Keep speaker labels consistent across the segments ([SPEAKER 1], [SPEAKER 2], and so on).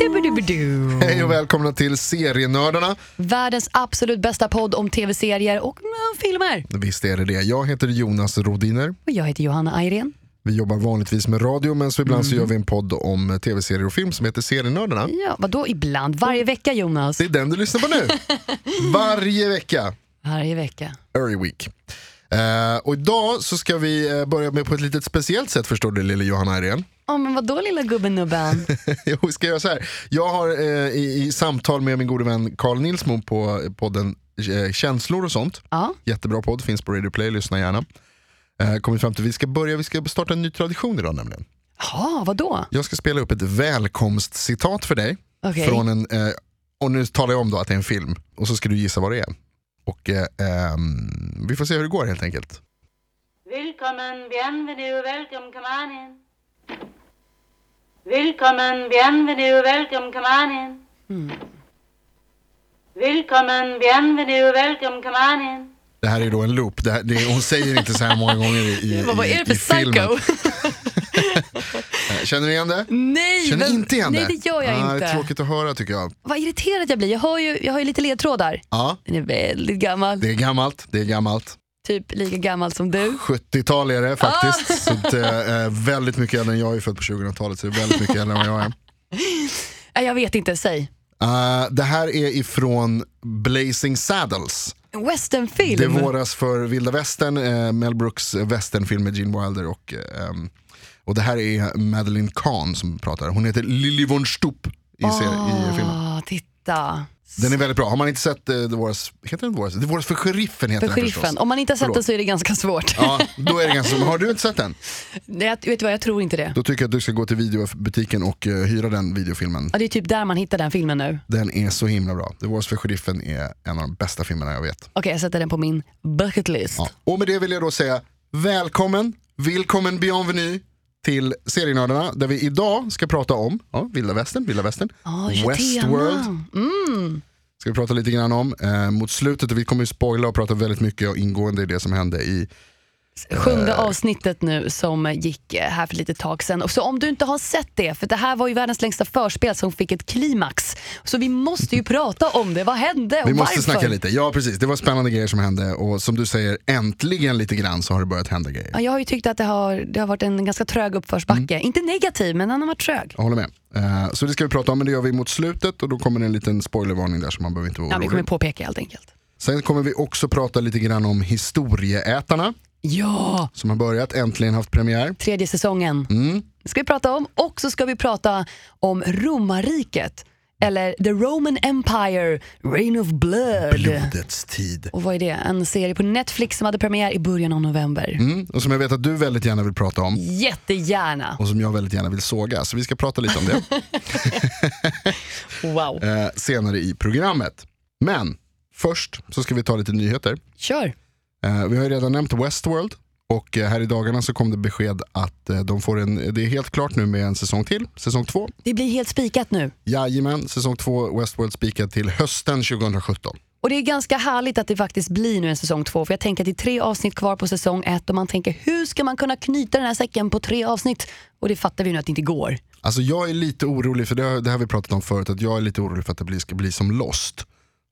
[SPEAKER 1] Dubbidibidu.
[SPEAKER 2] Hej och välkomna till Serienördarna.
[SPEAKER 1] Mm. Världens absolut bästa podd om tv-serier och mm, filmer.
[SPEAKER 2] Visst är det det. Jag heter Jonas Rodiner.
[SPEAKER 1] Och jag heter Johanna Ayrén. Mm.
[SPEAKER 2] Vi jobbar vanligtvis med radio men så ibland så gör vi en podd om eh, tv-serier och film som heter Serienördarna.
[SPEAKER 1] Ja, vadå ibland? Varje vecka Jonas.
[SPEAKER 2] Det är den du lyssnar på nu. Varje vecka.
[SPEAKER 1] Varje vecka.
[SPEAKER 2] Every week. Eh, och idag så ska vi eh, börja med på ett litet speciellt sätt förstår du lille Johanna Irene.
[SPEAKER 1] Ja men vadå lilla gubben nubben?
[SPEAKER 2] Jo, vi ska göra så här. Jag har eh, i, i samtal med min gode vän Carl Nilsmo på eh, podden eh, Känslor och sånt.
[SPEAKER 1] ja,
[SPEAKER 2] Jättebra podd, finns på Radio Play, lyssna gärna. Eh, kommit fram till vi ska börja, vi ska starta en ny tradition idag nämligen.
[SPEAKER 1] Jaha, vadå?
[SPEAKER 2] Jag ska spela upp ett välkomstcitat för dig.
[SPEAKER 1] Okej.
[SPEAKER 2] Från en, eh, och nu talar jag om då att det är en film och så ska du gissa vad det är. Och eh, ehm, vi får se hur det går helt enkelt.
[SPEAKER 3] Willkommen, bienvenue, welcome, come on in. Willkommen, bienvenue, welcome, come on in. Willkommen, bienvenue, welcome, come on in.
[SPEAKER 2] Det här är då en loop, det här, det, hon säger inte så här många gånger i, i,
[SPEAKER 1] Vad, vad
[SPEAKER 2] i,
[SPEAKER 1] är det för
[SPEAKER 2] i filmen.
[SPEAKER 1] psycho?
[SPEAKER 2] Eh, Känner du igen det?
[SPEAKER 1] nej,
[SPEAKER 2] Känner
[SPEAKER 1] men-
[SPEAKER 2] inte igen
[SPEAKER 1] nej
[SPEAKER 2] det?
[SPEAKER 1] det gör jag
[SPEAKER 2] ah, Det är
[SPEAKER 1] inte.
[SPEAKER 2] tråkigt att höra tycker jag.
[SPEAKER 1] Vad irriterad jag blir. Jag har ju, jag har ju lite ledtrådar.
[SPEAKER 2] Ja,
[SPEAKER 1] Den är väldigt gammal.
[SPEAKER 2] det är gammalt, det är gammalt.
[SPEAKER 1] Typ lika gammal som du.
[SPEAKER 2] 70-tal är
[SPEAKER 1] Ah!
[SPEAKER 2] det faktiskt. Så att, eh, väldigt mycket äldre än jag, jag är född på 2000-talet så det är väldigt mycket äldre än vad jag är.
[SPEAKER 1] Nej, jag vet inte, säg.
[SPEAKER 2] Eh, det här är ifrån Blazing Saddles.
[SPEAKER 1] En westernfilm?
[SPEAKER 2] Det våras för vilda västern, eh, Mel Brooks västernfilm med Gene Wilder och, eh, ehm, och det här är Madeleine Kahn som pratar. Hon heter Lily von Stupp i, ser- i filmen.
[SPEAKER 1] Ah, titta.
[SPEAKER 2] Den är väldigt bra. Har man inte sett eh, Det våras, heter den Det våras? Det våras för sheriffen heter
[SPEAKER 1] För
[SPEAKER 2] den
[SPEAKER 1] sheriffen.
[SPEAKER 2] förstås.
[SPEAKER 1] Om man inte har sett
[SPEAKER 2] Förlåt.
[SPEAKER 1] den så är det ganska svårt.
[SPEAKER 2] Ja, då är det ganska, men har du inte sett den?
[SPEAKER 1] Nej, jag- vet du vad, jag tror inte det.
[SPEAKER 2] Då tycker jag att du ska gå till videobutiken och eh, hyra den videofilmen.
[SPEAKER 1] Ja, det är typ där man hittar den filmen nu. Okej,
[SPEAKER 2] Den är så himla bra. Det våras för sheriffen är en av de bästa filmerna jag vet.
[SPEAKER 1] jag sätter den på min bucket list.
[SPEAKER 2] Ja. Och med det vill jag då säga välkommen, välkommen bienvenue till Serienördarna där vi idag ska prata om ja, vilda västern, vilda västern,
[SPEAKER 1] Ja, just
[SPEAKER 2] Westworld
[SPEAKER 1] tema. Mm.
[SPEAKER 2] ska vi prata lite grann om eh, mot slutet och vi kommer ju spoila och prata väldigt mycket och ingående i det som hände i Eh.
[SPEAKER 1] Sjunde avsnittet nu som gick eh, här för lite tag sedan. Och Så om du inte har sett det, för det här var ju världens längsta förspel som fick ett klimax. Så vi måste ju prata om det. Vad hände och
[SPEAKER 2] Vi måste
[SPEAKER 1] varför?
[SPEAKER 2] snacka lite, ja precis det var spännande grejer som hände och som du säger äntligen lite grann så har det börjat hända grejer.
[SPEAKER 1] Ja, jag har ju tyckt att det har, det har varit en ganska trög uppförsbacke.
[SPEAKER 2] Mm.
[SPEAKER 1] Inte negativ, men den har varit trög.
[SPEAKER 2] Jag håller med. Eh, så det ska vi prata om men det gör vi mot slutet och då kommer det en liten spoilervarning där som man behöver inte vara
[SPEAKER 1] Ja, vi
[SPEAKER 2] orolig.
[SPEAKER 1] kommer påpeka helt enkelt.
[SPEAKER 2] Sen kommer vi också prata lite grann om historieätarna.
[SPEAKER 1] Ja,
[SPEAKER 2] som har börjat, äntligen haft premiär.
[SPEAKER 1] tredje säsongen.
[SPEAKER 2] Mm.
[SPEAKER 1] Det ska vi prata om. Och så ska vi prata om romarriket. Eller The Roman Empire, Reign of Blood.
[SPEAKER 2] Blodets tid.
[SPEAKER 1] Och vad är det? En serie på Netflix som hade premiär i början av november.
[SPEAKER 2] Mm. Och som jag vet att du väldigt gärna vill prata om
[SPEAKER 1] Jättegärna.
[SPEAKER 2] och som jag väldigt gärna vill såga. Så vi ska prata lite om det
[SPEAKER 1] Wow.
[SPEAKER 2] eh, senare i programmet. Men först så ska vi ta lite nyheter.
[SPEAKER 1] Kör.
[SPEAKER 2] Eh, vi har ju redan nämnt Westworld och eh, här i dagarna så kom det besked att eh, de får en, det är helt klart nu med en säsong till, säsong två.
[SPEAKER 1] Det blir helt spikat nu.
[SPEAKER 2] Jajamän, säsong två Westworld spikad till hösten 2017.
[SPEAKER 1] Och det är ganska härligt att det faktiskt blir nu en säsong två. För jag tänker att det är tre avsnitt kvar på säsong ett och man tänker hur ska man kunna knyta den här säcken på tre avsnitt? Och det fattar vi nu att det inte går.
[SPEAKER 2] Alltså jag är lite orolig, för det har, det har vi pratat om förut, att jag är lite orolig för att det blir, ska bli som Lost.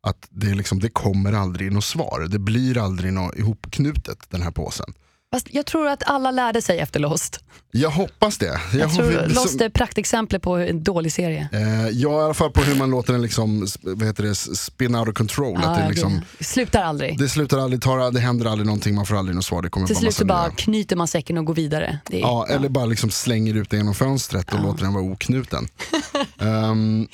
[SPEAKER 2] Att det, är liksom, det kommer aldrig något svar, det blir aldrig något ihopknutet den här påsen.
[SPEAKER 1] Fast jag tror att alla lärde sig efter Lost.
[SPEAKER 2] Jag hoppas det. Jag,
[SPEAKER 1] Jag tror
[SPEAKER 2] hoppas-
[SPEAKER 1] Lost är praktexempel på en dålig serie.
[SPEAKER 2] Eh, ja, i alla fall på hur man låter den liksom, sp- vad heter det, s- spin out of control.
[SPEAKER 1] Ja,
[SPEAKER 2] att det,
[SPEAKER 1] jag
[SPEAKER 2] liksom,
[SPEAKER 1] vet. slutar aldrig.
[SPEAKER 2] det slutar aldrig, tar, det händer aldrig någonting, man får aldrig något svar. Det kommer
[SPEAKER 1] Till
[SPEAKER 2] bara
[SPEAKER 1] slut
[SPEAKER 2] massa
[SPEAKER 1] så bara
[SPEAKER 2] nya-
[SPEAKER 1] knyter man säcken och går vidare. Det är,
[SPEAKER 2] Ja, eller bara liksom slänger ut den genom fönstret och låter den vara oknuten. Ehm,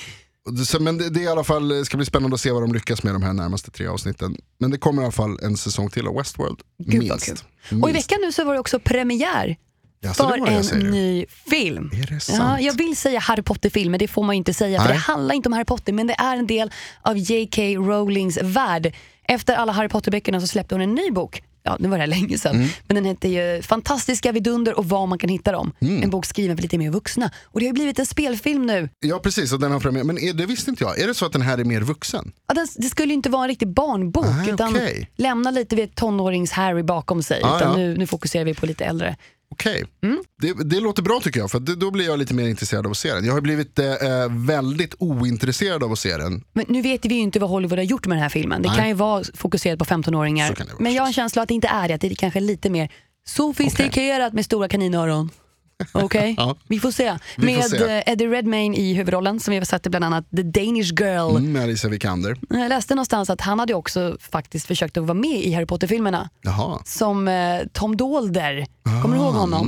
[SPEAKER 2] och det- så- men det, det är i alla fall, ska bli spännande att se vad de lyckas med de här närmaste tre avsnitten. Men det kommer i alla fall en säsong till av Westworld.
[SPEAKER 1] Gud, vad
[SPEAKER 2] minst.
[SPEAKER 1] kul.
[SPEAKER 2] minst.
[SPEAKER 1] Och i veckan nu så var det också premiär
[SPEAKER 2] Jaså, det
[SPEAKER 1] för
[SPEAKER 2] var det jag säger
[SPEAKER 1] en
[SPEAKER 2] nu.
[SPEAKER 1] ny film.
[SPEAKER 2] Är det sant?
[SPEAKER 1] Ja, jag vill säga Harry Potter-film, men det får man ju inte säga. För
[SPEAKER 2] Nej.
[SPEAKER 1] det handlar inte om Harry Potter, men det är en del av J.K. Rowlings värld. Efter alla Harry Potter-böckerna så släppte hon en ny bok. Ja, nu var det här länge sedan.
[SPEAKER 2] Mm.
[SPEAKER 1] Men den hette ju Fantastiska vidunder och var man kan hitta dem.
[SPEAKER 2] Mm.
[SPEAKER 1] En bok skriven för lite mer vuxna. Och det har ju blivit en spelfilm nu.
[SPEAKER 2] Ja precis, och den har premiär. Men är, det visste inte jag. Är det så att den här är mer vuxen?
[SPEAKER 1] Ja, den, det skulle ju inte vara en riktig barnbok
[SPEAKER 2] Ah,
[SPEAKER 1] utan
[SPEAKER 2] okej.
[SPEAKER 1] lämna lite vid tonårings-Harry bakom sig.
[SPEAKER 2] Ah,
[SPEAKER 1] utan
[SPEAKER 2] ja.
[SPEAKER 1] nu, nu fokuserar vi på lite äldre.
[SPEAKER 2] Okej.
[SPEAKER 1] Mm.
[SPEAKER 2] Det, det låter bra tycker jag, för det, då blir jag lite mer intresserad av att se den. Jag har blivit eh, eh, väldigt ointresserad av att se den.
[SPEAKER 1] Men nu vet vi ju inte vad Hollywood har gjort med den här filmen. Det kan ju vara fokuserat på 15-åringar.
[SPEAKER 2] Så kan det vara,
[SPEAKER 1] Men jag har en känsla att det inte är det. Att det är kanske lite mer sofistikerat med stora kaninöron. Okej,
[SPEAKER 2] Ja.
[SPEAKER 1] vi får se.
[SPEAKER 2] Vi får
[SPEAKER 1] med
[SPEAKER 2] se.
[SPEAKER 1] eh, Eddie Redmayne i huvudrollen som vi har sett i bland annat The Danish Girl.
[SPEAKER 2] Mm, med Alicia Vikander.
[SPEAKER 1] Jag läste någonstans att han hade också faktiskt försökt att vara med i Harry Potter-filmerna.
[SPEAKER 2] Jaha.
[SPEAKER 1] Som eh, Tom Dolder. Kommer du ihåg honom?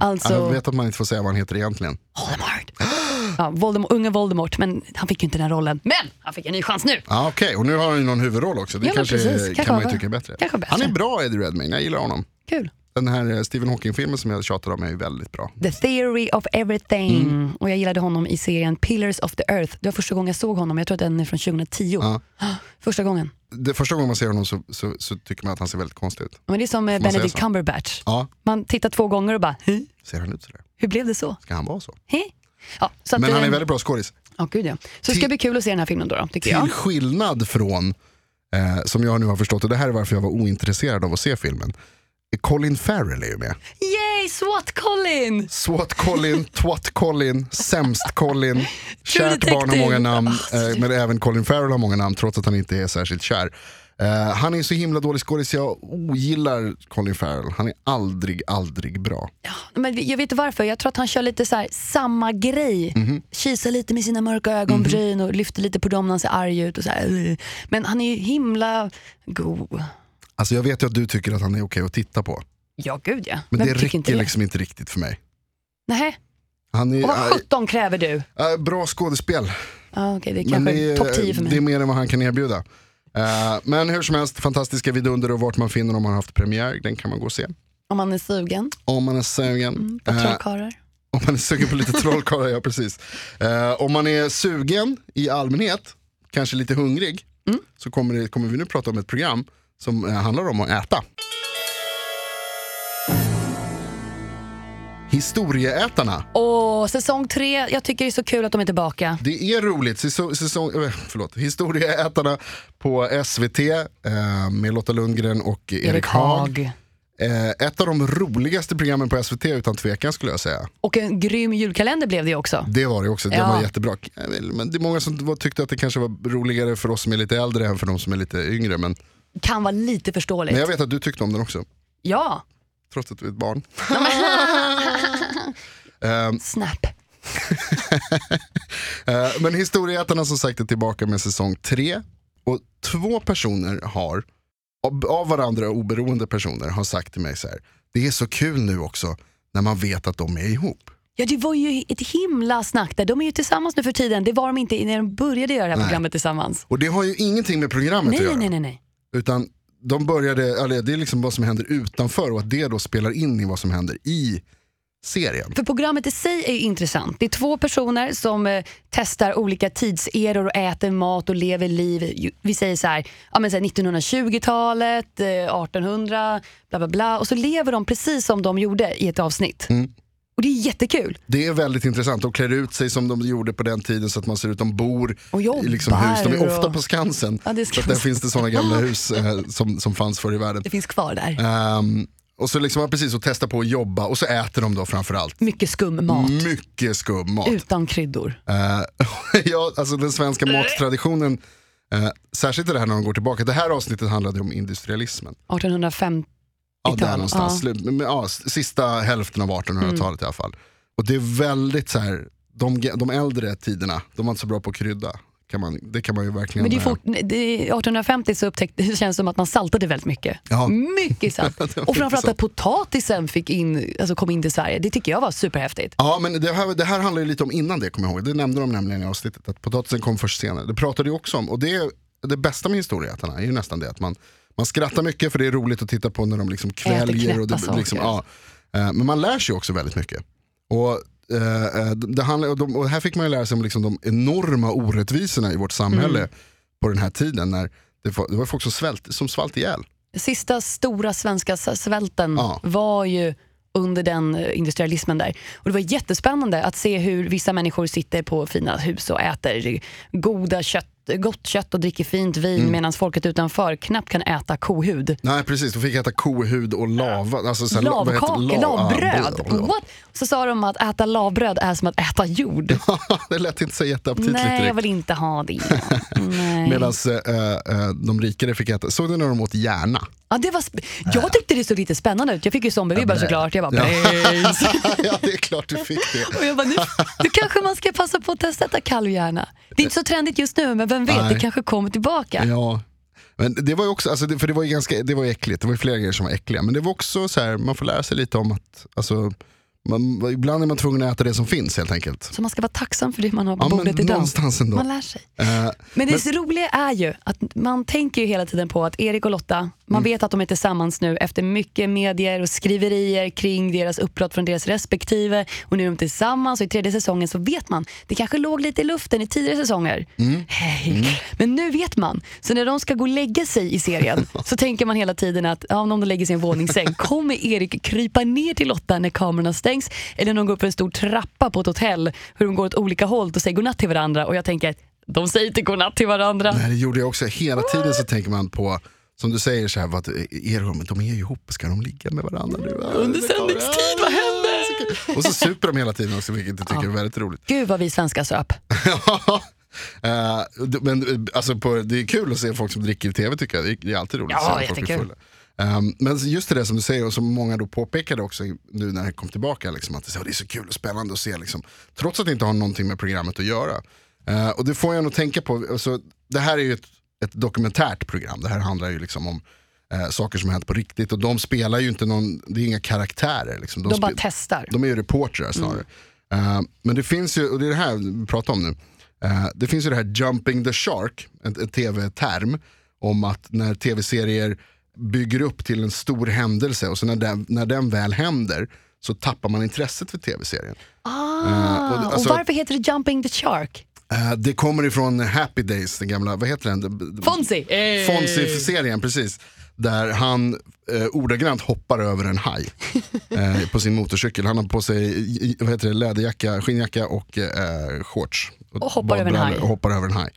[SPEAKER 1] Alltså
[SPEAKER 2] Ah, mm. Jag vet att man inte får säga vad han heter egentligen.
[SPEAKER 1] Voldemort. Ja, Voldemort. Unge Voldemort, men han fick ju inte den rollen. Men han fick en ny chans nu.
[SPEAKER 2] Ja, Okej, och nu har han ju någon huvudroll också. Det
[SPEAKER 1] Ja, men
[SPEAKER 2] kanske,
[SPEAKER 1] precis.
[SPEAKER 2] kan
[SPEAKER 1] Kanske
[SPEAKER 2] man ju
[SPEAKER 1] var-
[SPEAKER 2] tycka är bättre.
[SPEAKER 1] kanske bättre.
[SPEAKER 2] Han är bra Eddie Redmayne, jag gillar honom.
[SPEAKER 1] Kul.
[SPEAKER 2] Den här eh, Stephen Hawking-filmen som jag tjatar om är ju väldigt bra.
[SPEAKER 1] The Theory of Everything.
[SPEAKER 2] Mm.
[SPEAKER 1] Och jag gillade honom i serien Pillars of the Earth. Det var första gången jag såg honom. Jag tror att den är från 2010.
[SPEAKER 2] Ja.
[SPEAKER 1] Första gången.
[SPEAKER 2] Det första gången man ser honom så, så, så tycker man att han ser väldigt konstig ut.
[SPEAKER 1] Men det är som eh,
[SPEAKER 2] man säga
[SPEAKER 1] Benedict
[SPEAKER 2] så?
[SPEAKER 1] Cumberbatch.
[SPEAKER 2] Ja,
[SPEAKER 1] Man tittar två gånger och bara, "Hä?
[SPEAKER 2] ser han ut sådär?
[SPEAKER 1] hur blev det så?
[SPEAKER 2] Ska han vara så?
[SPEAKER 1] Hä?" Ja, så att,
[SPEAKER 2] Men han
[SPEAKER 1] eh,
[SPEAKER 2] är väldigt bra skådis.
[SPEAKER 1] ja, gud ja. Så det ska
[SPEAKER 2] Till-
[SPEAKER 1] bli kul att se den här filmen då, då tycker
[SPEAKER 2] Till
[SPEAKER 1] jag.
[SPEAKER 2] skillnad från, eh, som jag nu har förstått, och det här är varför jag var ointresserad av att se filmen. Colin Farrell är ju med.
[SPEAKER 1] Yay, SWAT Colin!
[SPEAKER 2] SWAT Colin, Twat Colin, Sämst Colin. Kärt
[SPEAKER 1] Detective.
[SPEAKER 2] barn har många namn,
[SPEAKER 1] Ah,
[SPEAKER 2] eh, men även Colin Farrell har många namn trots att han inte är särskilt kär. Eh, han är så himla dålig skådis, jag ogillar Colin Farrell. Han är aldrig, aldrig bra.
[SPEAKER 1] Ja, men jag vet inte varför, jag tror att han kör lite så här, samma grej.
[SPEAKER 2] Mhm.
[SPEAKER 1] Kisar lite med sina mörka ögonbryn och lyfter lite på dem när han ser arg ut. Och så här. "Ugh." Men han är ju himla god.
[SPEAKER 2] Alltså jag vet ju att du tycker att han är okej att titta på.
[SPEAKER 1] Ja, gud ja.
[SPEAKER 2] Men
[SPEAKER 1] Vem
[SPEAKER 2] det
[SPEAKER 1] tycker
[SPEAKER 2] räcker liksom inte riktigt för mig.
[SPEAKER 1] Nej.
[SPEAKER 2] Han är,
[SPEAKER 1] Och vad
[SPEAKER 2] eh,
[SPEAKER 1] sjutton kräver du?
[SPEAKER 2] eh, bra skådespel.
[SPEAKER 1] Ah, Okej, det är
[SPEAKER 2] Men
[SPEAKER 1] kanske
[SPEAKER 2] det är-
[SPEAKER 1] topp 10 för mig.
[SPEAKER 2] Det är mer än vad han kan erbjuda. Eh, men hur som helst, fantastiska vidunder och vart man finner om man har haft premiär, den kan man gå och se.
[SPEAKER 1] Om man är sugen
[SPEAKER 2] Om man är sugen.
[SPEAKER 1] på
[SPEAKER 2] Eh,
[SPEAKER 1] trollkarlar.
[SPEAKER 2] om man är sugen på lite trollkarlar, ja precis. Eh, om man är sugen i allmänhet, kanske lite hungrig, så kommer, det, kommer vi nu prata om ett program som eh, handlar om att äta. Historieätarna.
[SPEAKER 1] Åh, säsong tre. Jag tycker det är så kul att de är tillbaka.
[SPEAKER 2] Det är roligt. Säsong, säsong, eh, förlåt. Historieätarna på SVT eh, med Lotta Lundgren och Erik, Haag. Eh, ett av de roligaste programmen på SVT utan tvekan skulle jag säga.
[SPEAKER 1] Och en grym julkalender blev det ju också.
[SPEAKER 2] Det var det också, det
[SPEAKER 1] Ja.
[SPEAKER 2] var jättebra. Eh, väl, Men det är många som var- tyckte att det kanske var roligare för oss som är lite äldre än för de som är lite yngre. Men,
[SPEAKER 1] Kan vara lite förståeligt.
[SPEAKER 2] men jag vet att du tyckte om den också,
[SPEAKER 1] Ja,
[SPEAKER 2] trots att du är ett barn. Ehm,
[SPEAKER 1] snap.
[SPEAKER 2] Eh, Men Historieätarna som sagt är tillbaka med säsong tre. Och två personer har, av- av varandra oberoende personer, har sagt till mig så här. Det är så kul nu också när man vet att de är ihop.
[SPEAKER 1] Ja, det var ju ett himla snack där. De är ju tillsammans nu för tiden. Det var de inte när de började göra det här
[SPEAKER 2] Nej.
[SPEAKER 1] programmet tillsammans.
[SPEAKER 2] Och det har ju ingenting med programmet att
[SPEAKER 1] Nej,
[SPEAKER 2] göra.
[SPEAKER 1] nej, nej, nej.
[SPEAKER 2] Utan de började, eller det är liksom vad som händer utanför och att det då spelar in i vad som händer i serien.
[SPEAKER 1] För programmet i sig är ju intressant. Det är två personer som eh, testar olika tidseror och äter mat och lever liv. Ju- Vi säger så här, ja, men så här 1920-talet, eh, 1800, bla bla bla. Och så lever de precis som de gjorde i ett avsnitt.
[SPEAKER 2] Mm.
[SPEAKER 1] Och det är jättekul.
[SPEAKER 2] Det är väldigt intressant. De klär ut sig som de gjorde på den tiden så att man ser ut, de bor
[SPEAKER 1] Och jobbar
[SPEAKER 2] i liksom hus. De är
[SPEAKER 1] och-
[SPEAKER 2] ofta på Skansen.
[SPEAKER 1] Ja, det
[SPEAKER 2] så
[SPEAKER 1] ska
[SPEAKER 2] att där
[SPEAKER 1] man säga.
[SPEAKER 2] finns det sådana gamla hus eh, som, som fanns förr i världen.
[SPEAKER 1] Det finns kvar där.
[SPEAKER 2] Ehm, och så liksom man precis och testar på att jobba och så äter de då framförallt
[SPEAKER 1] Mycket skum mat.
[SPEAKER 2] mycket skum mat.
[SPEAKER 1] Utan kryddor.
[SPEAKER 2] Eh, ja, alltså den svenska mattraditionen, eh, särskilt det här när de går tillbaka. Det här avsnittet handlade om industrialismen.
[SPEAKER 1] 1850.
[SPEAKER 2] Ja,
[SPEAKER 1] Italien,
[SPEAKER 2] där någonstans.
[SPEAKER 1] ja. Mm.
[SPEAKER 2] Slut, men, ja, s- sista hälften av 1800-talet i alla fall. Och det är väldigt så här, de, ge- de äldre tiderna, de var inte så bra på att krydda. Kan man, det kan man ju verkligen...
[SPEAKER 1] Men det är
[SPEAKER 2] eh,
[SPEAKER 1] fort, nej, det är 1850 så upptäckte, det känns som att man saltade väldigt mycket.
[SPEAKER 2] Ja.
[SPEAKER 1] Mycket salt.
[SPEAKER 2] Det var
[SPEAKER 1] Och framförallt
[SPEAKER 2] intressant.
[SPEAKER 1] att potatisen fick in, alltså kom in till Sverige. Det tycker jag var superhäftigt.
[SPEAKER 2] Ja, men det här, det här handlar ju lite om innan det, kommer jag ihåg. Det nämnde de nämligen i avsnittet, att potatisen kom först senare. Det pratade ju också om, och det, är det bästa med historieätarna är ju nästan det att man, man skrattar mycket för det är roligt att titta på när de liksom
[SPEAKER 1] knäppa
[SPEAKER 2] kväljer. Och det,
[SPEAKER 1] saker.
[SPEAKER 2] liksom, ja. Eh, Men man lär sig också väldigt mycket. Och, eh, eh, det handlar, och, de, och här fick man ju lära sig om liksom de enorma orättvisorna i vårt samhälle
[SPEAKER 1] Mm.
[SPEAKER 2] på den här tiden. När det, var- det var folk som, svält, som svalt ihjäl.
[SPEAKER 1] Sista stora svenska s- svälten
[SPEAKER 2] Ja.
[SPEAKER 1] var ju under den eh, industrialismen där. Och det var jättespännande att se hur vissa människor sitter på fina hus och äter goda kött, gott kött och dricker fint vin
[SPEAKER 2] Mm.
[SPEAKER 1] medan folket utanför knappt kan äta kohud.
[SPEAKER 2] Nej precis, de fick äta kohud och lava. Alltså, så här, vad heter det?
[SPEAKER 1] Lavkakor,
[SPEAKER 2] Lav-
[SPEAKER 1] lavbröd.
[SPEAKER 2] ja,
[SPEAKER 1] What? Så sa de att äta lavbröd är som att äta jord.
[SPEAKER 2] det lät inte så jätteaptitligt
[SPEAKER 1] Nej, jag
[SPEAKER 2] direkt.
[SPEAKER 1] vill inte ha det. Nej.
[SPEAKER 2] Medan eh, de rikare fick äta, såg du när de åt hjärna?
[SPEAKER 1] Ja, det var sp- jag tyckte det såg lite spännande ut. Jag fick ju zombievibbar såklart. Jag bara, "Bäs."
[SPEAKER 2] ja det är klart du fick det.
[SPEAKER 1] Och jag bara, nu, nu kanske man ska passa på att testa att äta kalvhjärna. Det är inte så trendigt just nu, men vem vet,
[SPEAKER 2] Nej.
[SPEAKER 1] det kanske kommer tillbaka.
[SPEAKER 2] Ja. Men det var ju också, alltså, det, för det var ju ganska, det var ju äckligt, det var ju flera grejer som var äckliga. Men det var också så här, man får lära sig lite om att, alltså, man, ibland är man tvungen att äta det som finns helt enkelt.
[SPEAKER 1] Så man ska vara tacksam för det man har på
[SPEAKER 2] Ja, men
[SPEAKER 1] bordet idag.
[SPEAKER 2] någonstans ändå.
[SPEAKER 1] Man lär sig.
[SPEAKER 2] Eh,
[SPEAKER 1] Men det roliga är ju att man tänker ju hela tiden på att Erik och Lotta, man vet att de är tillsammans nu efter mycket medier och skriverier kring deras uppbrott från deras respektive och nu är de tillsammans och i tredje säsongen så vet man, det kanske låg lite i luften i tidigare säsonger. Hej. Men nu vet man, så när de ska gå och lägga sig i serien så tänker man hela tiden att ja, om de lägger sig i en våningssäng, kommer Erik krypa ner till Lotta när kamerorna stängs eller när de går upp för en stor trappa på ett hotell, hur de går åt olika håll och säger godnatt till varandra och jag tänker att de säger inte godnatt till varandra.
[SPEAKER 2] Nej, det gjorde jag också. Hela tiden så tänker man på, som du säger, så här, vad, er, men de är ju ihop, ska de ligga med varandra nu? Under
[SPEAKER 1] sändningstid, vad
[SPEAKER 2] händer? Och så super de hela tiden också, vilket jag tycker är väldigt roligt.
[SPEAKER 1] Gud vad vi svenskar söp.
[SPEAKER 2] Eh, d- men eh, alltså, på, det är kul att se folk som dricker i tv tycker jag. Det är- Det är alltid roligt
[SPEAKER 1] Ja,
[SPEAKER 2] att se när folk är
[SPEAKER 1] jättekul.
[SPEAKER 2] fulla. Ehm, men just det där som du säger och som många då påpekade också i- nu när jag kom tillbaka. Liksom, att det är så- det är så kul och spännande att se. Liksom, trots att det inte har någonting med programmet att göra. Eh, och det får jag nog tänka på. Alltså, det här är ju ett, ett dokumentärt program. Det här handlar ju liksom om eh, saker som har hänt på riktigt. Och de spelar ju inte någon, det är inga karaktärer. Liksom.
[SPEAKER 1] De bara
[SPEAKER 2] spe-
[SPEAKER 1] testar. Mm.
[SPEAKER 2] de är ju reportrar snarare. Eh, men det finns ju, och det är det här vi pratar om nu. Eh, det finns ju det här jumping the shark, en, en tv-term. Om att när tv-serier bygger upp till en stor händelse och så när den, när den väl händer så tappar man intresset för tv-serien.
[SPEAKER 1] Ah,
[SPEAKER 2] och det-
[SPEAKER 1] och,
[SPEAKER 2] alltså-
[SPEAKER 1] varför heter det Jumping the Shark?
[SPEAKER 2] Eh, det kommer ifrån Happy Days, den gamla, vad heter den?
[SPEAKER 1] Fonzie!
[SPEAKER 2] Fonzie-serien, precis. Där han eh, ordagrant hoppar över en haj eh, på sin motorcykel. Han har på sig i- i- vad heter det, läderjacka, skinnjacka och eh, shorts.
[SPEAKER 1] Och hoppar över en haj.
[SPEAKER 2] badbrallor Och hoppar över en haj.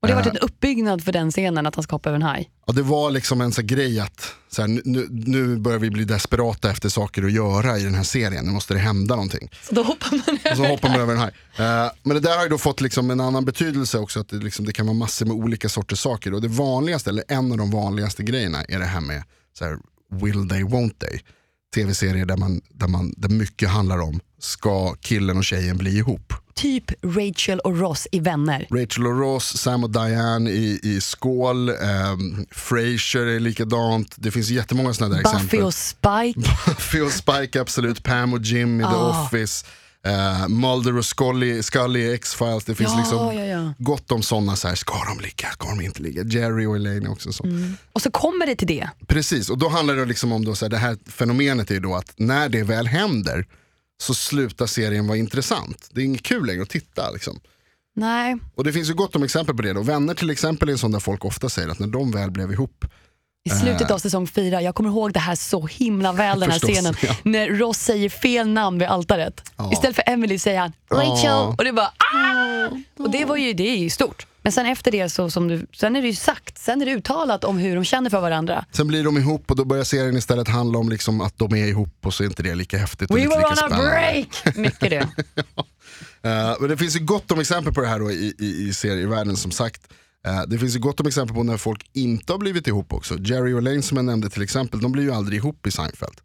[SPEAKER 1] Och det har
[SPEAKER 2] Eh.
[SPEAKER 1] varit en uppbyggnad för den scenen att han ska hoppa över en haj.
[SPEAKER 2] Ja, det var liksom en sån grej att så här, nu, nu börjar vi bli desperata efter saker att göra i den här serien. Nu måste det hända någonting.
[SPEAKER 1] Så då hoppar man
[SPEAKER 2] Och så hoppar man över den här. Eh, men det där har ju då fått liksom en annan betydelse också. Att det, liksom, det kan vara massor med olika sorters saker. Och det vanligaste, eller en av de vanligaste grejerna är det här med så här, will they, won't they. Tv-serier där, man, där, man, där mycket handlar om, ska killen och tjejen bli ihop?
[SPEAKER 1] Typ Rachel och Ross i Vänner.
[SPEAKER 2] Rachel och Ross, Sam och Diane i, i Skål, ehm, Frasier är likadant. Det finns jättemånga sådana där
[SPEAKER 1] Buffy
[SPEAKER 2] exempel. Mm.
[SPEAKER 1] och Spike.
[SPEAKER 2] Buffy och Spike, absolut. Pam och Jim i The
[SPEAKER 1] Ah.
[SPEAKER 2] Office. Eh, Mulder och Scully, Scully i X-Files. Det finns
[SPEAKER 1] Ja,
[SPEAKER 2] liksom
[SPEAKER 1] ja, ja.
[SPEAKER 2] gott om sådana. Så här, ska de ligga? Ska de inte ligga? Jerry och Elaine är också en sån.
[SPEAKER 1] Och så kommer det till det.
[SPEAKER 2] Precis, och då handlar det liksom om då, så här, det här fenomenet är ju då att när det väl händer så slutar serien vara intressant. Det är inget kul längre att titta. Liksom.
[SPEAKER 1] Nej,
[SPEAKER 2] Och det finns ju gott om exempel på det. Då. Vänner till exempel är en sån där folk ofta säger att när de väl blev ihop
[SPEAKER 1] i slutet av säsong fyra. Jag kommer ihåg det här så himla väl, den här
[SPEAKER 2] Eh. Förstås,
[SPEAKER 1] scenen.
[SPEAKER 2] ja.
[SPEAKER 1] När Ross säger fel namn vid altaret. Istället för Emily säger han Rachel.
[SPEAKER 2] Ja.
[SPEAKER 1] Och det är bara ah! Och det var ju, det är ju stort. Men sen efter det så som du, sen är det ju sagt, sen är det uttalat om hur de känner för varandra.
[SPEAKER 2] Sen blir de ihop och då börjar serien istället handla om liksom att de är ihop och så är inte det lika häftigt. och
[SPEAKER 1] We
[SPEAKER 2] inte lika
[SPEAKER 1] were on a
[SPEAKER 2] spännande.
[SPEAKER 1] break! Mycket det.
[SPEAKER 2] Eh, men det finns ju gott om exempel på det här då i, i, i serievärlden som sagt. Eh, det finns ju gott om exempel på när folk inte har blivit ihop också. Jerry och Lane som jag nämnde till exempel, de blir ju aldrig ihop i Seinfeld.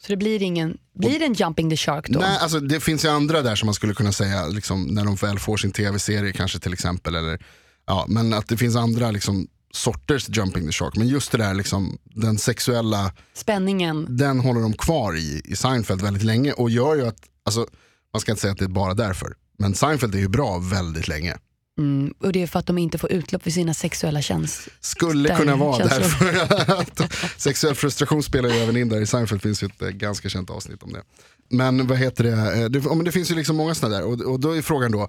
[SPEAKER 1] Så det blir ingen, blir det en jumping the shark då?
[SPEAKER 2] Nej, alltså, det finns ju andra där som man skulle kunna säga, liksom, när de väl får sin tv-serie kanske till exempel. Eller, ja, men att det finns andra liksom, sorters jumping the shark. Men just det där, liksom, den sexuella
[SPEAKER 1] Spänningen.
[SPEAKER 2] den håller de kvar i, i Seinfeld väldigt länge och gör ju att, alltså, man ska inte säga att det är bara därför, men Seinfeld är ju bra väldigt länge.
[SPEAKER 1] Mm, och det är för att de inte får utlopp för sina sexuella känslor.
[SPEAKER 2] Skulle
[SPEAKER 1] Där
[SPEAKER 2] kunna vara
[SPEAKER 1] känslor.
[SPEAKER 2] därför att sexuell frustration spelar ju även in där. I Seinfeld finns ju ett eh, ganska känt avsnitt om det. Men vad heter det, Eh, det, ja, men det finns ju liksom många sådana där. Och, och då är frågan då,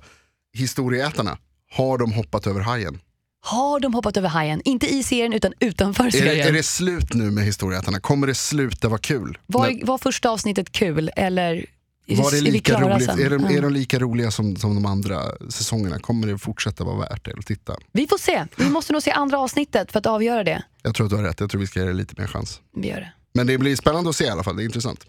[SPEAKER 2] historieätarna, har de hoppat över hajen?
[SPEAKER 1] Har de hoppat över hajen? Inte i serien utan utanför
[SPEAKER 2] Är det,
[SPEAKER 1] serien.
[SPEAKER 2] är det slut nu med historieätarna? Kommer det sluta vara kul?
[SPEAKER 1] var, var första avsnittet kul eller är
[SPEAKER 2] Var det
[SPEAKER 1] är vi
[SPEAKER 2] lika
[SPEAKER 1] klara
[SPEAKER 2] roligt?
[SPEAKER 1] sen? Mm.
[SPEAKER 2] Är, de,
[SPEAKER 1] Ja.
[SPEAKER 2] är de lika roliga som, som de andra säsongerna? Kommer det fortsätta vara värt det att titta?
[SPEAKER 1] Vi får se. Vi måste nog se andra avsnittet för att avgöra det.
[SPEAKER 2] Jag tror att du har rätt, jag tror vi ska ge det lite mer chans.
[SPEAKER 1] Vi gör det.
[SPEAKER 2] Men det blir spännande att se i alla fall, det är intressant.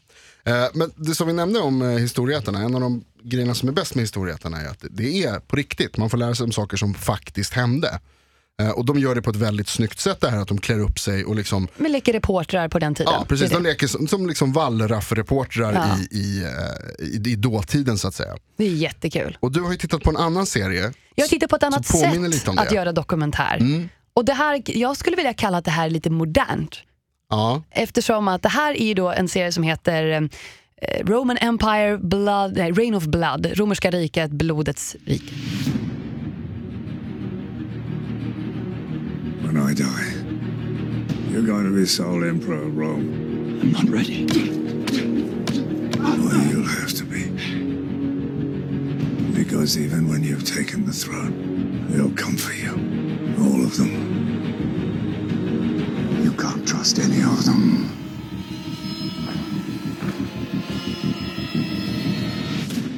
[SPEAKER 2] Eh, Men det som vi nämnde om eh, historieätarna, en av de grejerna som är bäst med historieätarna är att det är på riktigt. Man får lära sig om saker som faktiskt hände. Eh, Och de gör det på ett väldigt snyggt sätt det här att de klär upp sig och liksom,
[SPEAKER 1] Men leker reportrar på den tiden.
[SPEAKER 2] ja, precis,
[SPEAKER 1] Det är
[SPEAKER 2] de
[SPEAKER 1] det.
[SPEAKER 2] leker som, som liksom wallraff-reportrar
[SPEAKER 1] Ja.
[SPEAKER 2] i, i, eh, i, i dåtiden så att säga.
[SPEAKER 1] det är jättekul.
[SPEAKER 2] Och du har ju tittat på en annan serie.
[SPEAKER 1] Jag tittar på ett annat
[SPEAKER 2] Så påminner
[SPEAKER 1] sätt
[SPEAKER 2] lite om det. Mm.
[SPEAKER 1] att göra dokumentär. Och det här, jag skulle vilja kalla att det här är lite modernt.
[SPEAKER 2] Ja,
[SPEAKER 1] Eftersom att det här är ju då en serie som heter eh, Roman Empire, Blood, nej, Reign of Blood, Romerska riket, blodets rike.
[SPEAKER 4] When I die, you're going to be sole emperor of Rome. I'm not ready. Well, you'll have to be. Because even when you've taken the throne, they'll come for you. All of them. You can't trust any of them.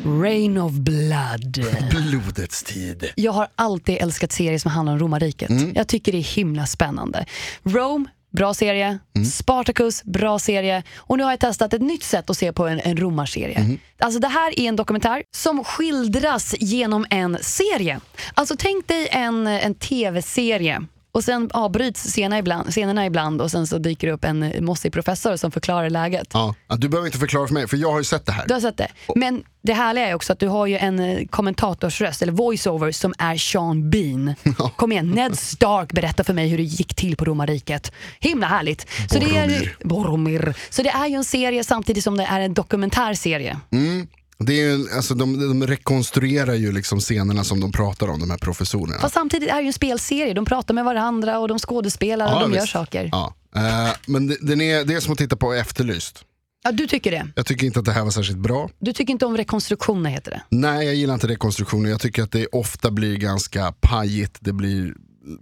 [SPEAKER 1] Reign of Blood.
[SPEAKER 2] blodets tid.
[SPEAKER 1] Jag har alltid älskat serier som handlar om romarriket. Jag tycker det är himla spännande. Rome, bra serie. Spartacus, bra serie. Och nu har jag testat ett nytt sätt att se på en, en romarserie. Alltså det här är en dokumentär som skildras genom en serie. Alltså tänk dig en, en tv-serie. Och sen avbryts scenerna ibland, scenerna ibland och sen så dyker det upp en mossig professor som förklarar läget.
[SPEAKER 2] Ja, ja, du behöver inte förklara för mig, för jag har ju sett det här.
[SPEAKER 1] Du har sett det. Men det härliga är också att du har ju en eh, kommentatorsröst, eller voiceover, som är Sean Bean. Kom igen, Ned Stark berättar för mig hur det gick till på romarriket. Himla härligt. Så det är,
[SPEAKER 2] Boromir.
[SPEAKER 1] Boromir. Så det är ju en serie samtidigt som det är en dokumentärserie.
[SPEAKER 2] Mm. Det är ju, alltså, de, de rekonstruerar ju liksom scenerna som de pratar om, de här professorerna.
[SPEAKER 1] Fast samtidigt är det ju en spelserie. De pratar med varandra och de skådespelar och de gör
[SPEAKER 2] visst.
[SPEAKER 1] saker. Ja.
[SPEAKER 2] Ja. Eh, men det, den är, det är som att titta på Efterlyst.
[SPEAKER 1] du tycker det.
[SPEAKER 2] Jag tycker inte att det här var särskilt bra.
[SPEAKER 1] Du tycker inte om rekonstruktioner heter det.
[SPEAKER 2] Nej, jag gillar inte rekonstruktioner. Jag tycker att det ofta blir ganska pajigt. Det blir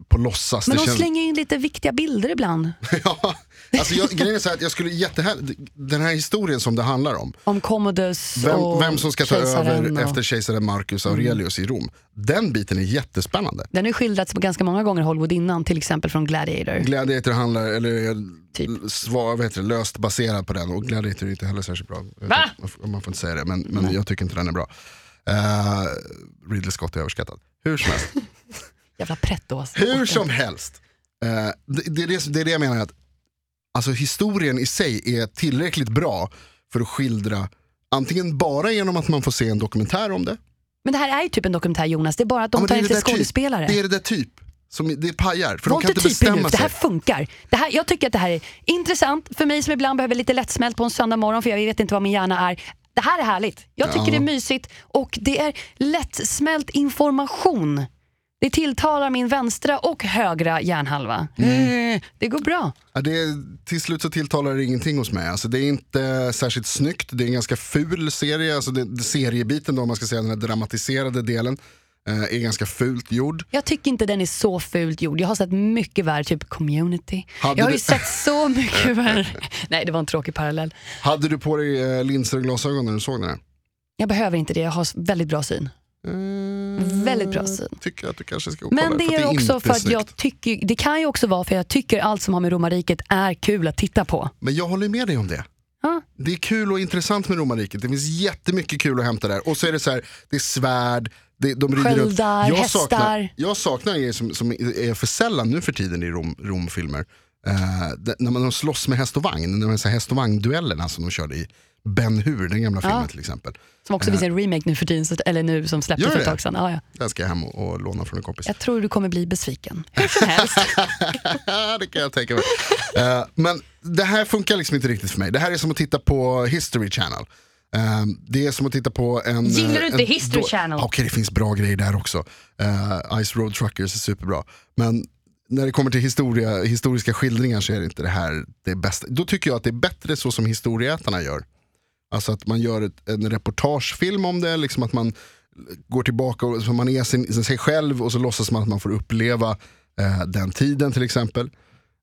[SPEAKER 2] på låtsas.
[SPEAKER 1] Men
[SPEAKER 2] det
[SPEAKER 1] de slänger in lite viktiga bilder ibland.
[SPEAKER 2] ja, alltså jag, grejen är så här att jag skulle jättehär... Den här historien som det handlar om.
[SPEAKER 1] Om Commodus
[SPEAKER 2] Vem,
[SPEAKER 1] och
[SPEAKER 2] vem som ska ta
[SPEAKER 1] kejsaren
[SPEAKER 2] över
[SPEAKER 1] och-
[SPEAKER 2] efter kejsaren Marcus Aurelius i Rom. Den biten är jättespännande.
[SPEAKER 1] Den har ju skildrats på ganska många gånger i Hollywood innan, till exempel från Gladiator.
[SPEAKER 2] Gladiator handlar, eller är
[SPEAKER 1] Typ.
[SPEAKER 2] svar, vad heter det, löst baserad på den och Gladiator är inte heller särskilt bra.
[SPEAKER 1] Va?
[SPEAKER 2] Man får- Man får inte säga det, men, men jag tycker inte den är bra. Eh, Ridley Scott är överskattad. Hur som helst.
[SPEAKER 1] Jävla pretto alltså.
[SPEAKER 2] Hur som helst. Eh, det, det, är det, det är det jag menar, att alltså, historien i sig är tillräckligt bra för att skildra antingen bara genom att man får se en dokumentär om det.
[SPEAKER 1] Men det här är ju typ en dokumentär Jonas, det är bara att de
[SPEAKER 2] Ja, men
[SPEAKER 1] tar
[SPEAKER 2] det är
[SPEAKER 1] in
[SPEAKER 2] det
[SPEAKER 1] lite
[SPEAKER 2] där typ.
[SPEAKER 1] skådespelare.
[SPEAKER 2] Det är det där typ. Som, det är pajar, för
[SPEAKER 1] Var
[SPEAKER 2] de kan
[SPEAKER 1] inte
[SPEAKER 2] inte
[SPEAKER 1] typig nu,
[SPEAKER 2] bestämma
[SPEAKER 1] det här
[SPEAKER 2] sig.
[SPEAKER 1] funkar. Det här, jag tycker att det här är intressant för mig som ibland behöver lite lättsmält på en söndag morgon för jag vet inte vad min hjärna är. Det här är härligt. Jag tycker det är mysigt och det är lättsmält information. Det tilltalar min vänstra och högra hjärnhalva.
[SPEAKER 2] Mm.
[SPEAKER 1] Eh, Det går bra.
[SPEAKER 2] Ja, det är, till slut så tilltalar det ingenting hos mig. Alltså, det är inte särskilt snyggt, det är en ganska ful serie. Alltså, det, det, seriebiten, då, om man ska säga den här dramatiserade delen, eh, är ganska fult gjord.
[SPEAKER 1] Jag tycker inte den är så fult gjord. Jag har sett mycket värre, typ community.
[SPEAKER 2] Hade
[SPEAKER 1] jag har ju
[SPEAKER 2] du-
[SPEAKER 1] sett så mycket värre. Nej, det var en tråkig parallell.
[SPEAKER 2] Hade du på dig eh, linser och glasögon när du såg den här?
[SPEAKER 1] Jag behöver inte det, jag har s- väldigt bra syn.
[SPEAKER 2] Eh,
[SPEAKER 1] Väldigt bra syn.
[SPEAKER 2] Tycker jag att du kanske ska gå och
[SPEAKER 1] Men
[SPEAKER 2] kolla
[SPEAKER 1] det
[SPEAKER 2] för
[SPEAKER 1] är också
[SPEAKER 2] inte
[SPEAKER 1] för att
[SPEAKER 2] snyggt.
[SPEAKER 1] jag tycker, det kan ju också vara för jag tycker allt som har med romarriket är kul att titta på.
[SPEAKER 2] Men jag håller med dig om det.
[SPEAKER 1] Ja.
[SPEAKER 2] Det är kul och intressant med romarriket. Det finns jättemycket kul att hämta där. Och så är det så här, det är svärd, det, de rider runt.
[SPEAKER 1] Sköldar,
[SPEAKER 2] jag
[SPEAKER 1] hästar.
[SPEAKER 2] Saknar, jag saknar grejer som, som är för sällan nu för tiden i rom, romfilmer. Eh, det, när man de slåss med häst och vagn, när man så här häst och vagn-duellerna som de körde i Ben Hur, den gamla filmen till exempel.
[SPEAKER 1] Som också finns en remake nu för tiden, så- eller nu som släpptes
[SPEAKER 2] Gör
[SPEAKER 1] för ett
[SPEAKER 2] det?
[SPEAKER 1] tag sedan. Ja, ja.
[SPEAKER 2] Den ska jag hem och, och låna från en kompis.
[SPEAKER 1] Jag tror du kommer bli besviken. Hur som helst.
[SPEAKER 2] det kan jag tänka mig. Eh, men det här funkar liksom inte riktigt för mig. Det här är som att titta på History Channel. Ehm, det är som att titta på en...
[SPEAKER 1] Gillar du
[SPEAKER 2] eh,
[SPEAKER 1] inte
[SPEAKER 2] en
[SPEAKER 1] History
[SPEAKER 2] då-
[SPEAKER 1] Channel?
[SPEAKER 2] Okej, det finns bra grejer där också. Eh, Ice Road Truckers är superbra. Men när det kommer till historia, historiska skildringar så är det inte det här det bästa. Då tycker jag att det är bättre så som historieätarna gör. Alltså att man gör ett, en reportagefilm om det, liksom att man går tillbaka och så man är sin, sig själv och så låtsas man att man får uppleva eh, den tiden till exempel.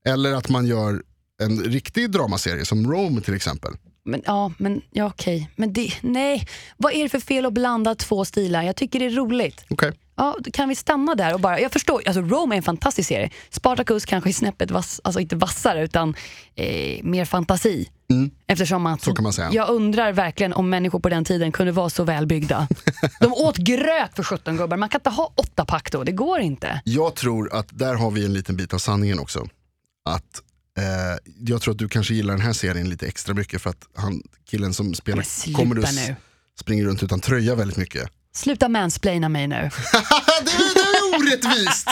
[SPEAKER 2] Eller att man gör en riktig dramaserie som Rome till exempel.
[SPEAKER 1] Men, ja, men ja, okej. Men det, nej, vad är det för fel att blanda två stilar? Jag tycker det är roligt.
[SPEAKER 2] Okej.
[SPEAKER 1] Ja, då kan vi stanna där och bara, jag förstår, alltså Rome är en fantastisk serie. Spartacus kanske är snäppet vass, alltså inte vassare utan eh, mer fantasi. Eftersom att,
[SPEAKER 2] Mm. Så kan man säga.
[SPEAKER 1] Jag undrar verkligen om människor på den tiden kunde vara så välbyggda. De åt gröt för 17 gubbar, man kan inte ha åtta pack då, det går inte.
[SPEAKER 2] Jag tror att där har vi en liten bit av sanningen också. Att eh, jag tror att du kanske gillar den här serien lite extra mycket för att han, killen som
[SPEAKER 1] Men
[SPEAKER 2] spelar
[SPEAKER 1] sluta nu.
[SPEAKER 2] springer runt utan tröja väldigt mycket.
[SPEAKER 1] Sluta mansplaina mig nu.
[SPEAKER 2] det är det är orättvist!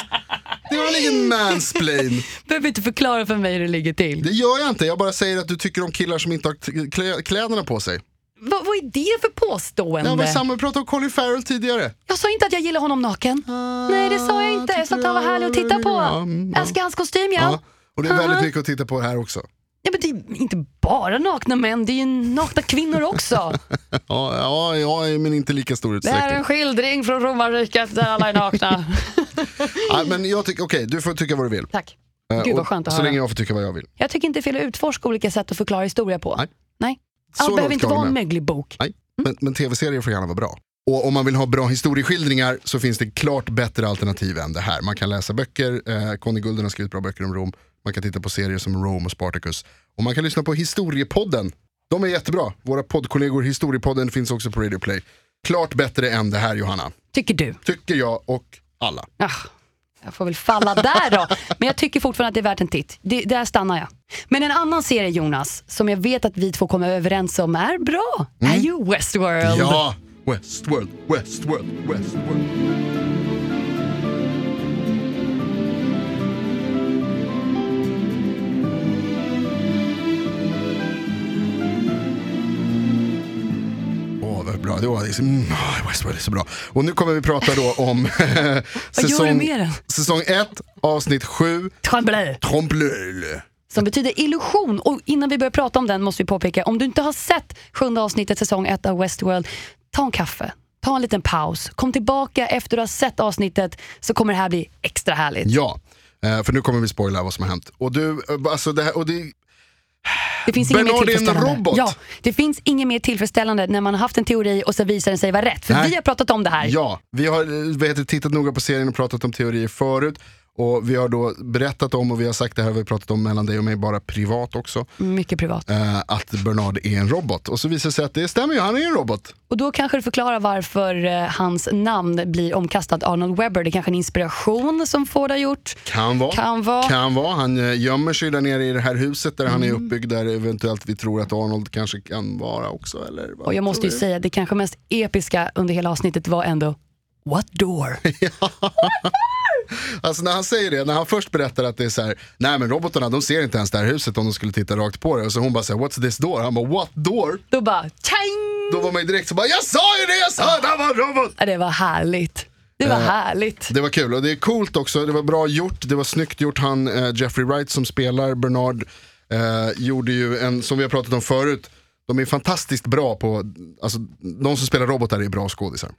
[SPEAKER 2] Det var väl ingen mansplain?
[SPEAKER 1] Behöver inte förklara för mig hur det ligger till.
[SPEAKER 2] Det gör jag inte, jag bara säger att du tycker om killar som inte har t- klä, kläderna på sig.
[SPEAKER 1] Vad, vad är det för påstående?
[SPEAKER 2] Ja, men samma, vi pratade om Colin Farrell tidigare.
[SPEAKER 1] Jag sa inte att jag gillar honom naken. Nej, det sa jag inte. Jag sa att han var härlig att titta på.
[SPEAKER 2] Ja, mm, ja.
[SPEAKER 1] Älskar hans kostym, ja.
[SPEAKER 2] Ja. Och det är väldigt
[SPEAKER 1] Aha.
[SPEAKER 2] mycket att titta på här också.
[SPEAKER 1] ja men det är inte bara nakna män, det är ju nakna kvinnor också.
[SPEAKER 2] Ja, ja, ja men inte i lika stor
[SPEAKER 1] det här är
[SPEAKER 2] utsträckning.
[SPEAKER 1] en skildring från romarriket där alla är nakna.
[SPEAKER 2] Ja, men jag tycker, okej, du får tycka vad du vill.
[SPEAKER 1] Tack.
[SPEAKER 2] Eh,
[SPEAKER 1] Gud vad
[SPEAKER 2] och
[SPEAKER 1] skönt att
[SPEAKER 2] Så
[SPEAKER 1] höra.
[SPEAKER 2] länge
[SPEAKER 1] Jag...
[SPEAKER 2] jag får tycka vad jag vill.
[SPEAKER 1] tycker inte det är fel att utforska olika sätt att förklara historia på.
[SPEAKER 2] Nej.
[SPEAKER 1] Nej.
[SPEAKER 2] Så
[SPEAKER 1] Allt behöver
[SPEAKER 2] långt
[SPEAKER 1] inte
[SPEAKER 2] kan jag
[SPEAKER 1] vara en
[SPEAKER 2] med.
[SPEAKER 1] möglig bok.
[SPEAKER 2] Nej. Men, men tv-serier får gärna vara bra. Och om man vill ha bra historieskildringar så finns det klart bättre alternativ än det här. Man kan läsa böcker, eh, Conny Gulden har skrivit bra böcker om Rom. Man kan titta på serier som Rome och Spartacus. Och man kan lyssna på Historiepodden. De är jättebra. Våra poddkollegor i Historiepodden finns också på Radio Play. Klart bättre än det här Johanna.
[SPEAKER 1] Tycker du?
[SPEAKER 2] Tycker jag och alla.
[SPEAKER 1] Ah, jag får väl falla där då. Men jag tycker fortfarande att det är värt en titt. Det, där stannar jag. Men en annan serie Jonas, som jag vet att vi två kommer överens om är bra, är ju Westworld.
[SPEAKER 2] Mm. Ja! Westworld, Westworld, Westworld. Åh, vad bra. Det var liksom, mm, ah, Westworld är så bra. Och nu kommer vi prata då om
[SPEAKER 1] gör du
[SPEAKER 2] säsong,
[SPEAKER 1] med den?
[SPEAKER 2] säsong 1, avsnitt 7,
[SPEAKER 1] Tremblay.
[SPEAKER 2] Trompe l'œil.
[SPEAKER 1] Som betyder illusion. Och innan vi börjar prata om den måste vi påpeka, om du inte har sett sjunde avsnittet säsong 1 av Westworld, ta en kaffe. Ta en liten paus. Kom tillbaka efter du har sett avsnittet så kommer det här bli extra härligt.
[SPEAKER 2] Ja, eh, för nu kommer vi spoila vad som har hänt. Och du, eh, alltså det här, och det,
[SPEAKER 1] Det finns inget mer
[SPEAKER 2] Bernard är en
[SPEAKER 1] tillfredsställande.
[SPEAKER 2] robot.
[SPEAKER 1] Ja, det finns inget mer tillfredsställande när man har haft en teori och så visar den sig vara rätt. För
[SPEAKER 2] Nej.
[SPEAKER 1] vi har pratat om det här.
[SPEAKER 2] Ja, vi har eh, vad heter, det, tittat noga på serien och pratat om teorier förut. Och vi har då berättat om, och vi har sagt det här, vi har pratat om mellan dig och mig bara privat också,
[SPEAKER 1] Mycket privat.
[SPEAKER 2] eh, att Bernard är en robot. Och så visar det sig att det stämmer ju, han är en robot.
[SPEAKER 1] Och då kanske du förklarar varför eh, hans namn blir omkastat Arnold Webber. Det är kanske är en inspiration som Ford har gjort.
[SPEAKER 2] Kan vara.
[SPEAKER 1] Kan vara.
[SPEAKER 2] Kan vara. Han eh, gömmer sig där nere i det här huset där han är
[SPEAKER 1] Mm.
[SPEAKER 2] uppbyggd, där eventuellt vi tror att Arnold kanske kan vara också. Eller vad
[SPEAKER 1] Och jag måste
[SPEAKER 2] tror
[SPEAKER 1] ju
[SPEAKER 2] du?
[SPEAKER 1] säga, det kanske mest episka under hela avsnittet var ändå What door?
[SPEAKER 2] Alltså när han säger det, när han först berättar att det är så här, nej men robotarna de ser inte ens det här huset om de skulle titta rakt på det. Och så hon bara säger, what's this door? Han bara, what door?
[SPEAKER 1] Då bara tjang!
[SPEAKER 2] Då var man ju direkt så bara, jag sa ju det, jag sa att han var en robot!
[SPEAKER 1] Ja, Det var härligt. Det
[SPEAKER 2] Eh,
[SPEAKER 1] var härligt.
[SPEAKER 2] Det var kul och det är coolt också, det var bra gjort, det var snyggt gjort. Han, eh, Jeffrey Wright som spelar Bernard, eh, gjorde ju en, som vi har pratat om förut, de är fantastiskt bra på, alltså de som spelar robotar är bra skådisar.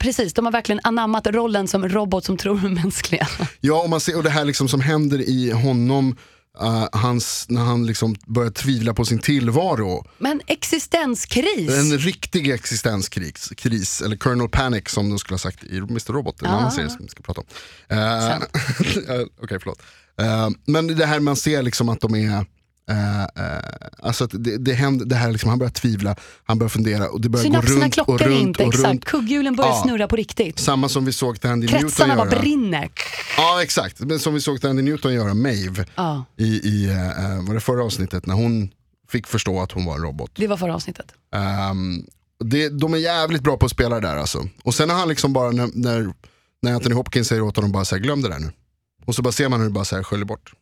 [SPEAKER 1] Precis, de har verkligen anammat rollen som robot som tror är mänskliga.
[SPEAKER 2] Ja, och, man ser, och det här liksom som händer i honom, eh, hans, när han liksom börjar tvivla på sin tillvaro.
[SPEAKER 1] Men existenskris!
[SPEAKER 2] En riktig existenskris, kris, eller Colonel Panic som de skulle ha sagt i Mr. Robot, en
[SPEAKER 1] Ah.
[SPEAKER 2] annan serie som vi ska prata om. Eh, eh, Okej, förlåt. Eh, men det här man ser liksom att de är, eh, eh, alltså att det, det händer, det här liksom, han börjar tvivla, han börjar fundera och det börjar gå
[SPEAKER 1] Synapserna
[SPEAKER 2] runt och
[SPEAKER 1] klockar
[SPEAKER 2] runt
[SPEAKER 1] inte,
[SPEAKER 2] och
[SPEAKER 1] exakt.
[SPEAKER 2] runt.
[SPEAKER 1] Kugghjulen börjar
[SPEAKER 2] Ja.
[SPEAKER 1] snurra på riktigt.
[SPEAKER 2] Samma som vi såg Tandy Newton
[SPEAKER 1] Kretsarna bara
[SPEAKER 2] göra.
[SPEAKER 1] brinner.
[SPEAKER 2] Ja exakt, men som vi såg Tandy Newton göra, Maeve,
[SPEAKER 1] Ja.
[SPEAKER 2] i, i eh, eh, var det förra avsnittet när hon fick förstå att hon var en robot.
[SPEAKER 1] Det var förra avsnittet.
[SPEAKER 2] Ehm, det, de är jävligt bra på att spela det där alltså. Och sen har han liksom bara, när, när, när Anthony Hopkins säger åt honom bara så här, glöm det där nu. Och så bara ser man hur det bara så här sköljer bort.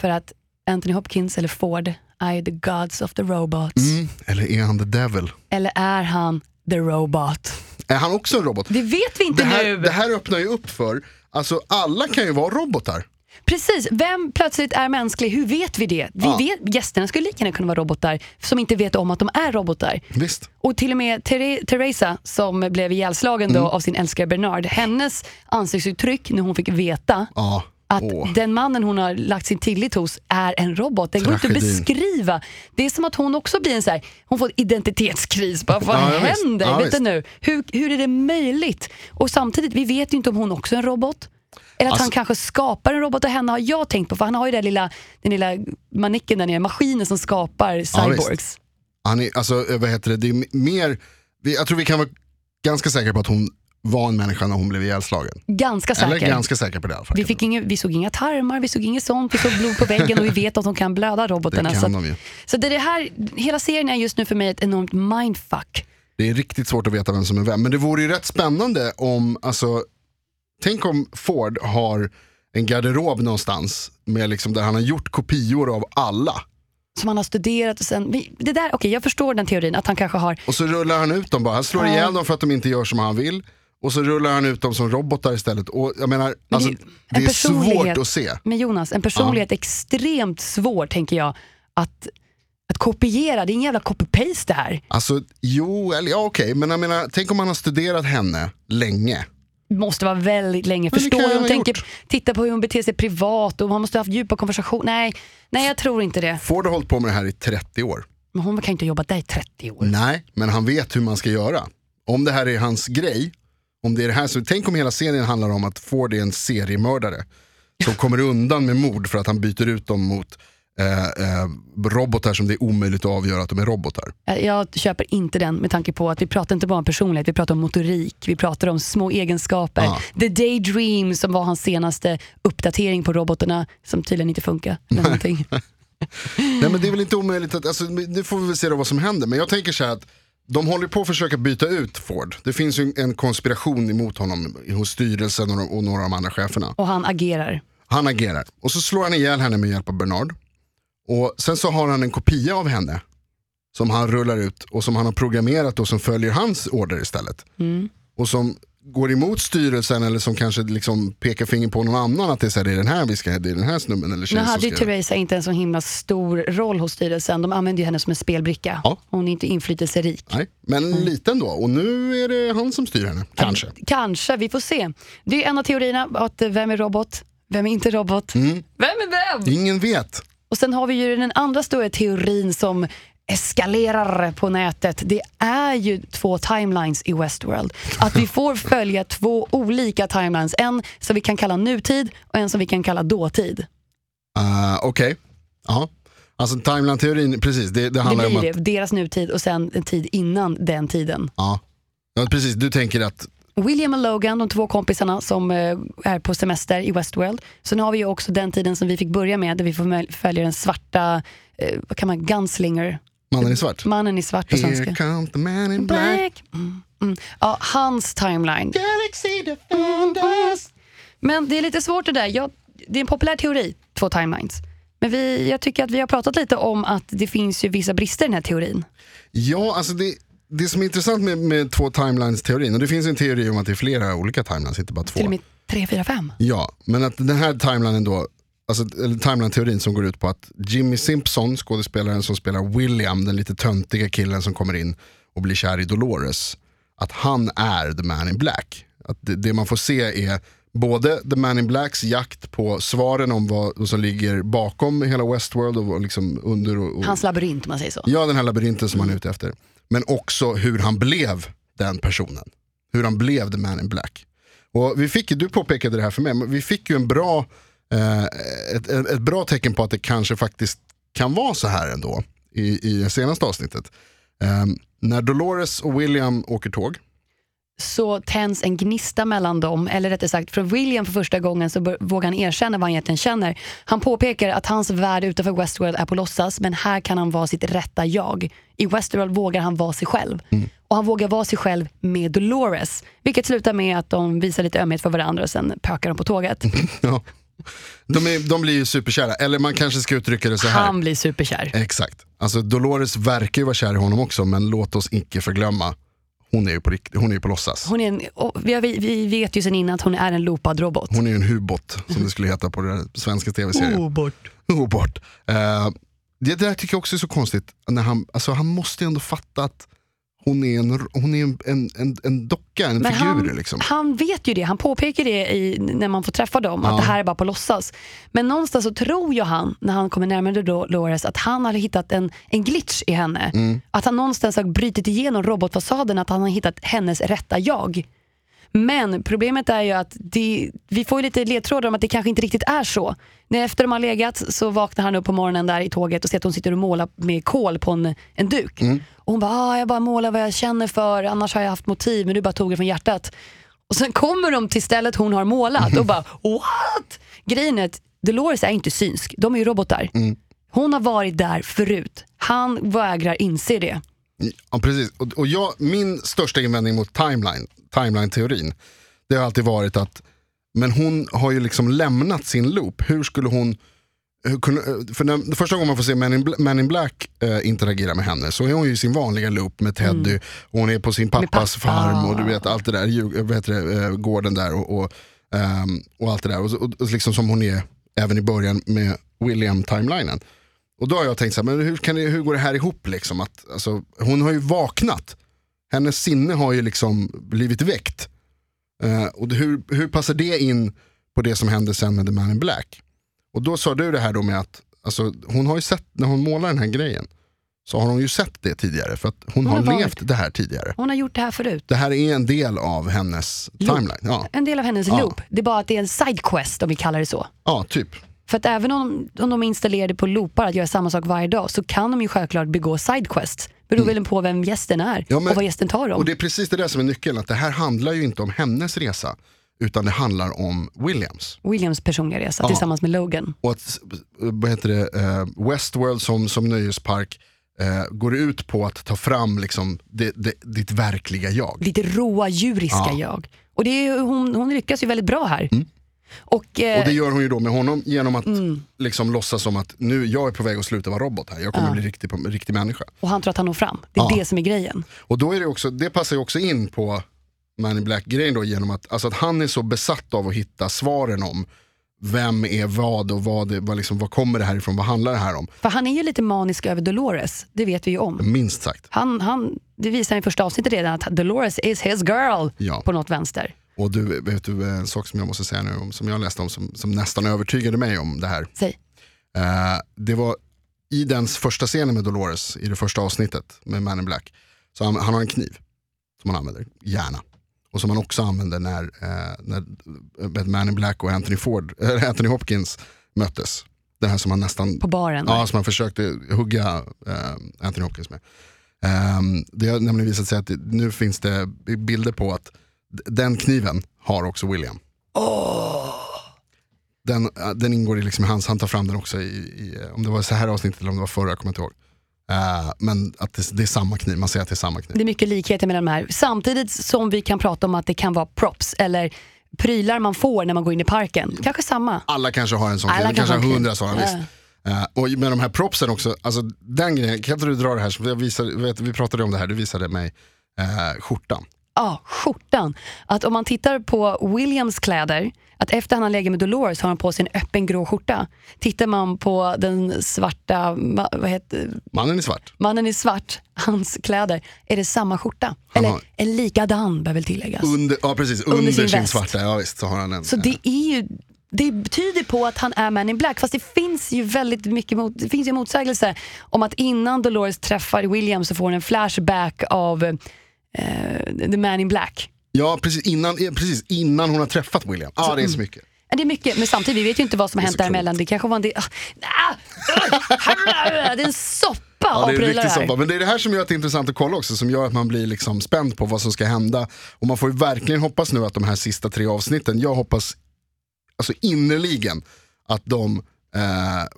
[SPEAKER 1] För att Anthony Hopkins eller Ford är ju the gods of the robots.
[SPEAKER 2] Mm. Eller är han the devil?
[SPEAKER 1] Eller är han the robot?
[SPEAKER 2] Är han också en robot?
[SPEAKER 1] Det vet vi inte
[SPEAKER 2] Det här,
[SPEAKER 1] nu.
[SPEAKER 2] det här öppnar ju upp för, alltså alla kan ju vara robotar.
[SPEAKER 1] Precis, vem plötsligt är mänsklig? Hur vet vi det? Vi
[SPEAKER 2] Ja.
[SPEAKER 1] vet, gästerna skulle lika gärna kunna vara robotar som inte vet om att de är robotar.
[SPEAKER 2] Visst.
[SPEAKER 1] Och till och med Tere- Teresa som blev ihjälslagen
[SPEAKER 2] Mm.
[SPEAKER 1] då av sin älskare Bernard, hennes ansiktsuttryck när hon fick veta
[SPEAKER 2] Ja.
[SPEAKER 1] att
[SPEAKER 2] Åh.
[SPEAKER 1] den mannen hon har lagt sin tillit hos är en robot. Den går inte att
[SPEAKER 2] Tragedin.
[SPEAKER 1] beskriva. Det är som att hon också blir en så här, hon får en identitetskris. Bara, vad
[SPEAKER 2] Ja, ja, visst.
[SPEAKER 1] händer?
[SPEAKER 2] Ja,
[SPEAKER 1] vet du
[SPEAKER 2] visst.
[SPEAKER 1] nu? Hur, hur är det möjligt? Och samtidigt, vi vet ju inte om hon också är en robot. Eller att han
[SPEAKER 2] Alltså-
[SPEAKER 1] kanske skapar en robot och henne har jag tänkt på för han har ju den lilla, den lilla manicken där nere, maskinen som skapar cyborgs.
[SPEAKER 2] Han är, alltså, eh, vad heter det, det är m- mer, vi, jag tror vi kan vara ganska säkra på att hon var en människa när hon blev ihjälslagen.
[SPEAKER 1] ganska säker.
[SPEAKER 2] Eller ganska säkra på det i alla fall.
[SPEAKER 1] Vi, fick inga, vi såg inga tarmar, vi såg inget sånt, vi såg blod på väggen och vi vet att de kan blöda
[SPEAKER 2] det
[SPEAKER 1] robotarna.
[SPEAKER 2] kan
[SPEAKER 1] så att-
[SPEAKER 2] de ju.
[SPEAKER 1] Så det är det här, hela serien är just nu för mig ett enormt mindfuck.
[SPEAKER 2] Det är riktigt svårt att veta vem som är vem. Men det vore ju rätt spännande om, alltså, tänk om Ford har en garderob någonstans med liksom, där han har gjort kopior av alla.
[SPEAKER 1] Som han har studerat och sen, vi- det där, okej jag förstår den teorin att han kanske har,
[SPEAKER 2] Och så rullar han ut dem bara. Han slår
[SPEAKER 1] Ja.
[SPEAKER 2] ihjäl dem för att de inte gör som han vill. Och så rullar han ut dem som robotar istället. Och jag menar,
[SPEAKER 1] Men
[SPEAKER 2] alltså,
[SPEAKER 1] det är ju
[SPEAKER 2] det,
[SPEAKER 1] en
[SPEAKER 2] är svårt
[SPEAKER 1] personlighet.
[SPEAKER 2] att se.
[SPEAKER 1] men Jonas, en personlighet extremt svår tänker jag att, att kopiera, det är ingen jävla copy-paste det här.
[SPEAKER 2] Alltså, jo, eller ja okej, men jag menar, tänk om han har studerat henne länge.
[SPEAKER 1] Det måste vara väldigt länge,
[SPEAKER 2] det
[SPEAKER 1] förstå
[SPEAKER 2] kan
[SPEAKER 1] hur
[SPEAKER 2] han
[SPEAKER 1] hon
[SPEAKER 2] ha
[SPEAKER 1] tänker,
[SPEAKER 2] gjort.
[SPEAKER 1] titta på hur hon beter sig privat och man måste ha haft djupa konversationer. Nej, nej jag tror inte det.
[SPEAKER 2] Ford har hållit på med det här i 30 år.
[SPEAKER 1] Men hon kan ju inte ha jobbat där i 30 år.
[SPEAKER 2] Nej, men han vet hur man ska göra. Om det här är hans grej, om det är det här, så tänk om hela serien handlar om att Ford är en seriemördare som kommer undan med mord för att han byter ut dem mot eh, eh, robotar som det är omöjligt att avgöra att de är robotar.
[SPEAKER 1] Jag, Eh, jag köper inte den med tanke på att vi pratar inte bara om personlighet, vi pratar om motorik, vi pratar om små egenskaper.
[SPEAKER 2] Ja.
[SPEAKER 1] The Daydream som var hans senaste uppdatering på robotarna som tydligen inte funkar. Eller någonting.
[SPEAKER 2] Nej men det är väl inte omöjligt att, alltså, nu får vi väl se då vad som händer. Men jag tänker så här att de håller på att försöka byta ut Ford. Det finns ju en konspiration emot honom hos styrelsen och, de, och några av de andra cheferna.
[SPEAKER 1] Och han agerar.
[SPEAKER 2] Han agerar och så slår han ihjäl henne med hjälp av Bernard. Och sen så har han en kopia av henne som han rullar ut och som han har programmerat och som följer hans order istället.
[SPEAKER 1] Mm.
[SPEAKER 2] Och som går emot styrelsen eller som kanske liksom pekar finger på någon annan att det är, så här, det är den här vi ska, det är den här snubben eller
[SPEAKER 1] Nu
[SPEAKER 2] tjejen som
[SPEAKER 1] hade
[SPEAKER 2] ska
[SPEAKER 1] ju
[SPEAKER 2] göra det.
[SPEAKER 1] Theresa inte en så himla stor roll hos styrelsen. De använde ju henne som en spelbricka.
[SPEAKER 2] Ja.
[SPEAKER 1] Hon är inte inflytelserik.
[SPEAKER 2] Nej, men
[SPEAKER 1] Mm.
[SPEAKER 2] lite ändå. Och nu är det han som styr henne, kanske.
[SPEAKER 1] Eh, Kanske, vi får se. Det är ju en av teorierna, att eh, vem är robot? Vem är inte robot?
[SPEAKER 2] Mm.
[SPEAKER 1] Vem är vem?
[SPEAKER 2] Ingen vet.
[SPEAKER 1] Och sen har vi ju den andra stora teorin som eskalerar på nätet. Det är ju två timelines i Westworld. Att vi får följa två olika timelines. En som vi kan kalla nutid och en som vi kan kalla dåtid.
[SPEAKER 2] Uh, Okej, ja. Alltså timeline-teorin, precis. Det, det
[SPEAKER 1] Det
[SPEAKER 2] handlar
[SPEAKER 1] blir
[SPEAKER 2] om
[SPEAKER 1] det,
[SPEAKER 2] att...
[SPEAKER 1] deras nutid och sen en tid innan den tiden.
[SPEAKER 2] Ja. ja, precis. Du tänker att
[SPEAKER 1] William och Logan, de två kompisarna som eh, är på semester i Westworld. Sen har vi ju också den tiden som vi fick börja med där vi får möj- följa den svarta, eh, vad kan man, gunslinger,
[SPEAKER 2] mannen är svart.
[SPEAKER 1] mannen i svart på svenska.
[SPEAKER 2] Here comes the man in black.
[SPEAKER 1] Black. Mm, mm. Ja, hans timeline.
[SPEAKER 2] Galaxy defenders.
[SPEAKER 1] Men det är lite svårt det där. Jag, det är en populär teori, två timelines. Men vi, jag tycker att vi har pratat lite om att det finns ju vissa brister i den här teorin.
[SPEAKER 2] Ja, alltså det, det som är intressant med, med två timelines-teorin, och det finns en teori om att det är flera olika timelines, inte bara två.
[SPEAKER 1] Till och med tre, fyra, fem.
[SPEAKER 2] Ja, men att den här timelinen då, alltså, eller timeline-teorin som går ut på att Jimmy Simpson, skådespelaren som spelar William, den lite töntiga killen som kommer in och blir kär i Dolores, att han är the man in black. Att det, det man får se är både the man in blacks jakt på svaren om vad som ligger bakom hela Westworld och vad liksom under och, och
[SPEAKER 1] Hans labyrint om man säger så.
[SPEAKER 2] Ja, den här labyrinten som han är ute efter. Men också hur han blev den personen. Hur han blev the man in black. Och vi fick, ju- du påpekade det här för mig, men vi fick ju en bra, eh, ett, ett, ett bra tecken på att det kanske faktiskt kan vara så här ändå i, i det senaste avsnittet. Eh, när Dolores och William åker tåg,
[SPEAKER 1] Så tänds en gnista mellan dem, eller rättare sagt från William för första gången så bör- vågar han erkänna vad han egentligen känner. Han påpekar att hans värld utanför Westworld är på låtsas men här kan han vara sitt rätta jag. I Westworld vågar han vara sig själv. Och han vågar vara sig själv med Dolores. Vilket slutar med att de visar lite ömhet för varandra och sen pökar de på tåget.
[SPEAKER 2] ja, De, är, de blir ju superkära, eller man kanske ska uttrycka det så här.
[SPEAKER 1] Han blir superkär.
[SPEAKER 2] Exakt. Alltså Dolores verkar ju vara kär i honom också, men låt oss icke förglömma, hon är ju på, rikt- hon är ju på låtsas.
[SPEAKER 1] Hon är en, och vi, har- vi, vi vet ju sen innan att hon är en loopad robot.
[SPEAKER 2] Hon är ju en hubot, som det skulle heta på den svenska tv-serien.
[SPEAKER 1] Obort.
[SPEAKER 2] Hubot. Eh, det där tycker jag också är så konstigt, när han, alltså, han måste ju ändå fatta att hon är en, hon är en, en, en, en docka, en
[SPEAKER 1] Men
[SPEAKER 2] figur.
[SPEAKER 1] han,
[SPEAKER 2] liksom.
[SPEAKER 1] han vet ju det, han påpekar det i, när man får träffa dem,
[SPEAKER 2] Ja.
[SPEAKER 1] att det här är bara på låtsas. Men någonstans så tror ju han, när han kommer närmare Dolores, att han har hittat en, en glitch i henne.
[SPEAKER 2] Mm.
[SPEAKER 1] Att han någonstans har brutit igenom robotfasaden, att han har hittat hennes rätta jag. Men problemet är ju att det, vi får ju lite ledtrådar om att det kanske inte riktigt är så. När efter de har legat så vaknar han upp på morgonen där i tåget och ser att hon sitter och målar med kol på en, en duk. Och hon bara, ah, jag bara målar vad jag känner för, annars har jag haft motiv men du bara tog det från hjärtat. Och sen kommer de till stället hon har målat och bara, what? Grejen är att Dolores är inte synsk, de är ju robotar. Hon har varit där förut. Han vägrar inse det.
[SPEAKER 2] Ja, precis. Och, och jag, min största invändning mot timeline, timeline-teorin, det har alltid varit att men hon har ju liksom lämnat sin loop. Hur skulle hon... Hur kunde, för när, första gången man får se Man in, Bla- Man in Black eh, interagera med henne så är hon ju i sin vanliga loop med Teddy och hon är på sin pappas
[SPEAKER 1] pappa.
[SPEAKER 2] farm och du vet allt det där, djur, vad heter det, eh, gården där och, och, ehm, och allt det där. Och, så- och, och liksom som hon är även i början med William-timelinen. Och då har jag tänkt så här, men hur, kan det, hur går det här ihop? Liksom? Att, alltså, hon har ju vaknat. Hennes sinne har ju liksom blivit väckt. Eh, och det- hur, hur passar det in på det som hände sen med The Man in Black? Och då sa du det här då med att alltså, hon har ju sett, när hon målar den här grejen, så har hon ju sett det tidigare. För att hon,
[SPEAKER 1] Hon
[SPEAKER 2] har
[SPEAKER 1] har varit-
[SPEAKER 2] levt det här tidigare.
[SPEAKER 1] Hon har gjort det här förut.
[SPEAKER 2] Det här är en del av hennes timeline. Ja,
[SPEAKER 1] En del av hennes
[SPEAKER 2] Ja.
[SPEAKER 1] loop. Det är bara att det är en sidequest om vi kallar det så.
[SPEAKER 2] ja, typ.
[SPEAKER 1] För att även om, om de installerar det på loopar att göra samma sak varje dag så kan de ju självklart begå sidequests. Beror väl på vem gästen är
[SPEAKER 2] Mm. Ja, men-
[SPEAKER 1] och vad gästen tar dem.
[SPEAKER 2] Och det är precis det där som är nyckeln, att det här handlar ju inte om hennes resa, utan det handlar om Williams.
[SPEAKER 1] Williams personliga resa
[SPEAKER 2] Ja.
[SPEAKER 1] tillsammans med Logan.
[SPEAKER 2] Och att vad heter det, eh, Westworld som, som nöjespark eh, går ut på att ta fram liksom, det, det, ditt verkliga jag.
[SPEAKER 1] Lite råa djuriska
[SPEAKER 2] Ja. Mm.
[SPEAKER 1] jag. Och det är, ju- hon, hon lyckas ju väldigt bra här. Och, eh,
[SPEAKER 2] Och det gör hon ju då med honom genom att liksom, låtsas som att nu jag är på väg att sluta vara robot här, jag kommer bli riktig, riktig människa.
[SPEAKER 1] och han tror att han når fram. Det är
[SPEAKER 2] Ja.
[SPEAKER 1] det som är grejen.
[SPEAKER 2] Och då är det, också, det passar ju också in på Man in Black-grejen då genom att, alltså att han är så besatt av att hitta svaren om vem är vad och vad, är- vad, liksom, vad kommer det här ifrån, vad handlar det här om?
[SPEAKER 1] För han är ju lite manisk över Dolores. Det vet vi ju om.
[SPEAKER 2] Minst sagt.
[SPEAKER 1] Han, han, det visar han i första avsnittet redan att Dolores is his girl
[SPEAKER 2] Ja.
[SPEAKER 1] på något vänster.
[SPEAKER 2] Och du, vet du en sak som jag måste säga nu, om- som jag läste om som, som nästan övertygade mig om det här.
[SPEAKER 1] Säg.
[SPEAKER 2] Eh, det var i den första scenen med Dolores, i det första avsnittet med Man in Black, så han, han har en kniv som han använder, gärna. Och som han också använder när, eh, när eh, Man in Black och Anthony, Ford, eh, Anthony Hopkins möttes. Den här som han nästan
[SPEAKER 1] På baren.
[SPEAKER 2] Ja, som han försökte hugga eh, Anthony Hopkins med. Ehm, det har nämligen visat sig att det, nu finns det bilder på att d- den kniven har också William. Den, eh, den ingår i liksom hans, han tar fram den också i, i eh, om det var så här avsnittet eller om det var förra, jag kommer inte ihåg. Eh, men att det, det är samma kniv, man säger att det är samma kniv.
[SPEAKER 1] Det är mycket likheter mellan de här. Samtidigt som vi kan prata om att det kan vara props eller prylar man får när man går in i parken. Kanske samma.
[SPEAKER 2] Alla kanske har en sån
[SPEAKER 1] Alla
[SPEAKER 2] kniv, det
[SPEAKER 1] kanske
[SPEAKER 2] kanske
[SPEAKER 1] har
[SPEAKER 2] har
[SPEAKER 1] en
[SPEAKER 2] hundra
[SPEAKER 1] kniv.
[SPEAKER 2] sådana,
[SPEAKER 1] Ja.
[SPEAKER 2] visst. Eh, och med de här propsen också, alltså den grejen, kan inte du dra det här, som jag visade, vet, vi pratade om det här, du visade mig uh, skjortan.
[SPEAKER 1] Ja, skjortan. Att om man tittar på Williams kläder, att efter han har legat med Dolores har han på sig en öppen grå skjorta. Tittar man på den svarta, ma- vad heter,
[SPEAKER 2] Mannen i svart.
[SPEAKER 1] mannen i svart, hans kläder, är det samma skorta.
[SPEAKER 2] Han
[SPEAKER 1] Eller
[SPEAKER 2] har-
[SPEAKER 1] en likadan bör väl tilläggas.
[SPEAKER 2] Under, ja, precis, under,
[SPEAKER 1] Under
[SPEAKER 2] sin,
[SPEAKER 1] sin väst.
[SPEAKER 2] svarta, ja visst så har han en. eh.
[SPEAKER 1] Så det är ju det betyder på att han är man in black. Fast det finns ju väldigt mycket mot, det finns ju en motsägelse om att innan Dolores träffar William så får hon en flashback av eh, the man in black.
[SPEAKER 2] Ja, precis innan, eh, precis innan hon har träffat William. Ja, det är
[SPEAKER 1] Mm.
[SPEAKER 2] så mycket.
[SPEAKER 1] Men Det är mycket, men samtidigt vi vet ju inte vad som har hänt
[SPEAKER 2] så klokt.
[SPEAKER 1] däremellan. Det kanske var en del, ah, ah, det är en soppa
[SPEAKER 2] Ja,
[SPEAKER 1] av
[SPEAKER 2] det är en
[SPEAKER 1] prylar
[SPEAKER 2] riktig
[SPEAKER 1] här.
[SPEAKER 2] soppa. Men det är det här som gör att det är intressant att kolla också, som gör att man blir liksom spänd på vad som ska hända. Och man får ju verkligen hoppas nu att de här sista tre avsnitten, jag hoppas alltså innerligen att de eh,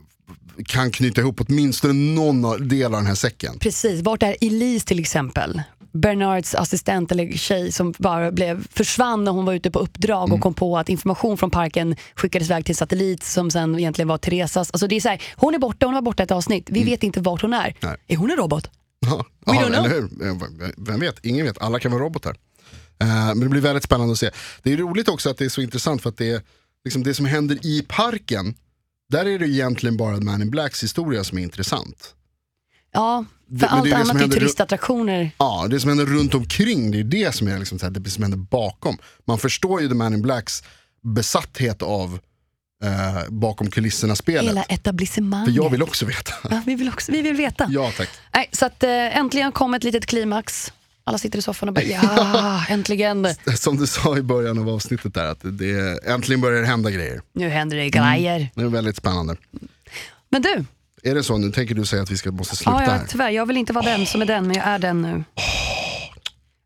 [SPEAKER 2] kan knyta ihop åtminstone någon av- del av den här säcken.
[SPEAKER 1] Precis, vart är Elise till exempel? Bernards assistent eller tjej som bara blev, försvann när hon var ute på uppdrag
[SPEAKER 2] Mm.
[SPEAKER 1] och kom på att information från parken skickades iväg till satellit som sen egentligen var Teresas. Alltså det är så här, hon är borta, hon var borta ett avsnitt. Vi vet inte vart hon är.
[SPEAKER 2] Mm. Nej.
[SPEAKER 1] Är hon en robot?
[SPEAKER 2] Ja, ja,
[SPEAKER 1] We don't know.
[SPEAKER 2] eller hur? Eh, Vem vet? Ingen vet. Alla kan vara robotar. Eh, Men det blir väldigt spännande att se. Det är roligt också att det är så intressant för att det, är, liksom det som händer i parken, där är det egentligen bara Man in Blacks historia som är intressant.
[SPEAKER 1] Ja, för
[SPEAKER 2] Det- men det är
[SPEAKER 1] allt
[SPEAKER 2] det som
[SPEAKER 1] annat är ju
[SPEAKER 2] händer-
[SPEAKER 1] turistattraktioner.
[SPEAKER 2] Ja, det som händer runt omkring, det är det som är liksom så här, det som händer bakom. Man förstår ju The Man in Blacks besatthet av eh, bakom kulisserna-spelet.
[SPEAKER 1] Hela
[SPEAKER 2] För
[SPEAKER 1] etablissemanget.
[SPEAKER 2] jag vill också veta.
[SPEAKER 1] ja, vi, vill också, vi vill veta.
[SPEAKER 2] ja, tack.
[SPEAKER 1] Nej, så att, eh, äntligen kom ett litet klimax. Alla sitter i soffan och bara ja, äntligen.
[SPEAKER 2] Som du sa i början av avsnittet där, att det, äntligen börjar det hända grejer.
[SPEAKER 1] Nu händer det
[SPEAKER 2] Mm.
[SPEAKER 1] grejer.
[SPEAKER 2] Det är väldigt spännande.
[SPEAKER 1] Men du,
[SPEAKER 2] Är det så nu? Tänker du säga att vi ska, måste sluta
[SPEAKER 1] ja, ja,
[SPEAKER 2] här?
[SPEAKER 1] tyvärr, jag vill inte vara den som är den, men jag är den nu.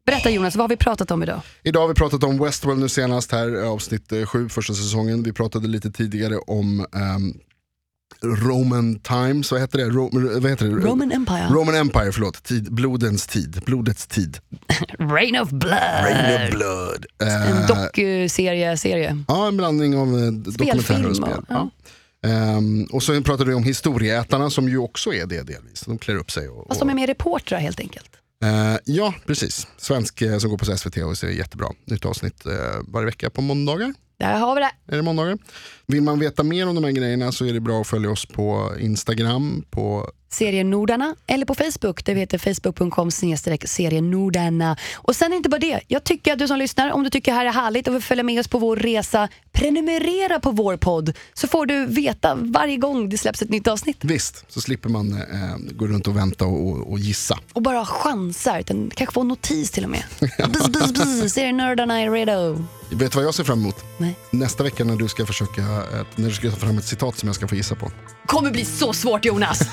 [SPEAKER 1] Berätta Jonas, vad har vi pratat om idag?
[SPEAKER 2] Idag har vi pratat om Westworld nu senast här, avsnitt 7, första säsongen. Vi pratade lite tidigare om ehm, Roman Times, vad heter det? Ro, vad heter det?
[SPEAKER 1] Roman Empire.
[SPEAKER 2] Roman Empire, förlåt. Tid, blodens tid. Blodets tid.
[SPEAKER 1] Rain of Blood.
[SPEAKER 2] Rain of blood. Eh,
[SPEAKER 1] En dokuserie, serie.
[SPEAKER 2] Ja, en blandning av eh, dokumentär och
[SPEAKER 1] och-
[SPEAKER 2] spel.
[SPEAKER 1] ja.
[SPEAKER 2] Ja. Ehm, och så pratade vi om historieätarna som ju också är det delvis. De klär upp sig. Och,
[SPEAKER 1] Fast de är mer reportrar helt enkelt.
[SPEAKER 2] Eh, ja, precis. Svensk eh, som går på SVT och ser jättebra. Nytt avsnitt eh, varje vecka på måndagar.
[SPEAKER 1] Där har vi det.
[SPEAKER 2] Är det måndagar? Vill man veta mer om de här grejerna så är det bra att följa oss på Instagram. På,
[SPEAKER 1] Serienordarna eller på Facebook. Det heter facebook.com snedstreck serienordarna. Och sen inte bara det. Jag tycker att du som lyssnar, om du tycker det här är härligt och vill följa med oss på vår resa, prenumerera på vår podd så får du veta varje gång det släpps ett nytt avsnitt.
[SPEAKER 2] visst, så slipper man eh, gå runt och vänta och, och, och gissa.
[SPEAKER 1] och bara chansar. Utan kanske få en notis till och med. Bzz, bzz, bzz, ser nördarna är redo.
[SPEAKER 2] Vet du vad jag ser fram emot?
[SPEAKER 1] Nej.
[SPEAKER 2] Nästa vecka när du ska försöka eh, när du ska ta fram ett citat som jag ska få gissa på.
[SPEAKER 1] kommer bli så svårt Jonas.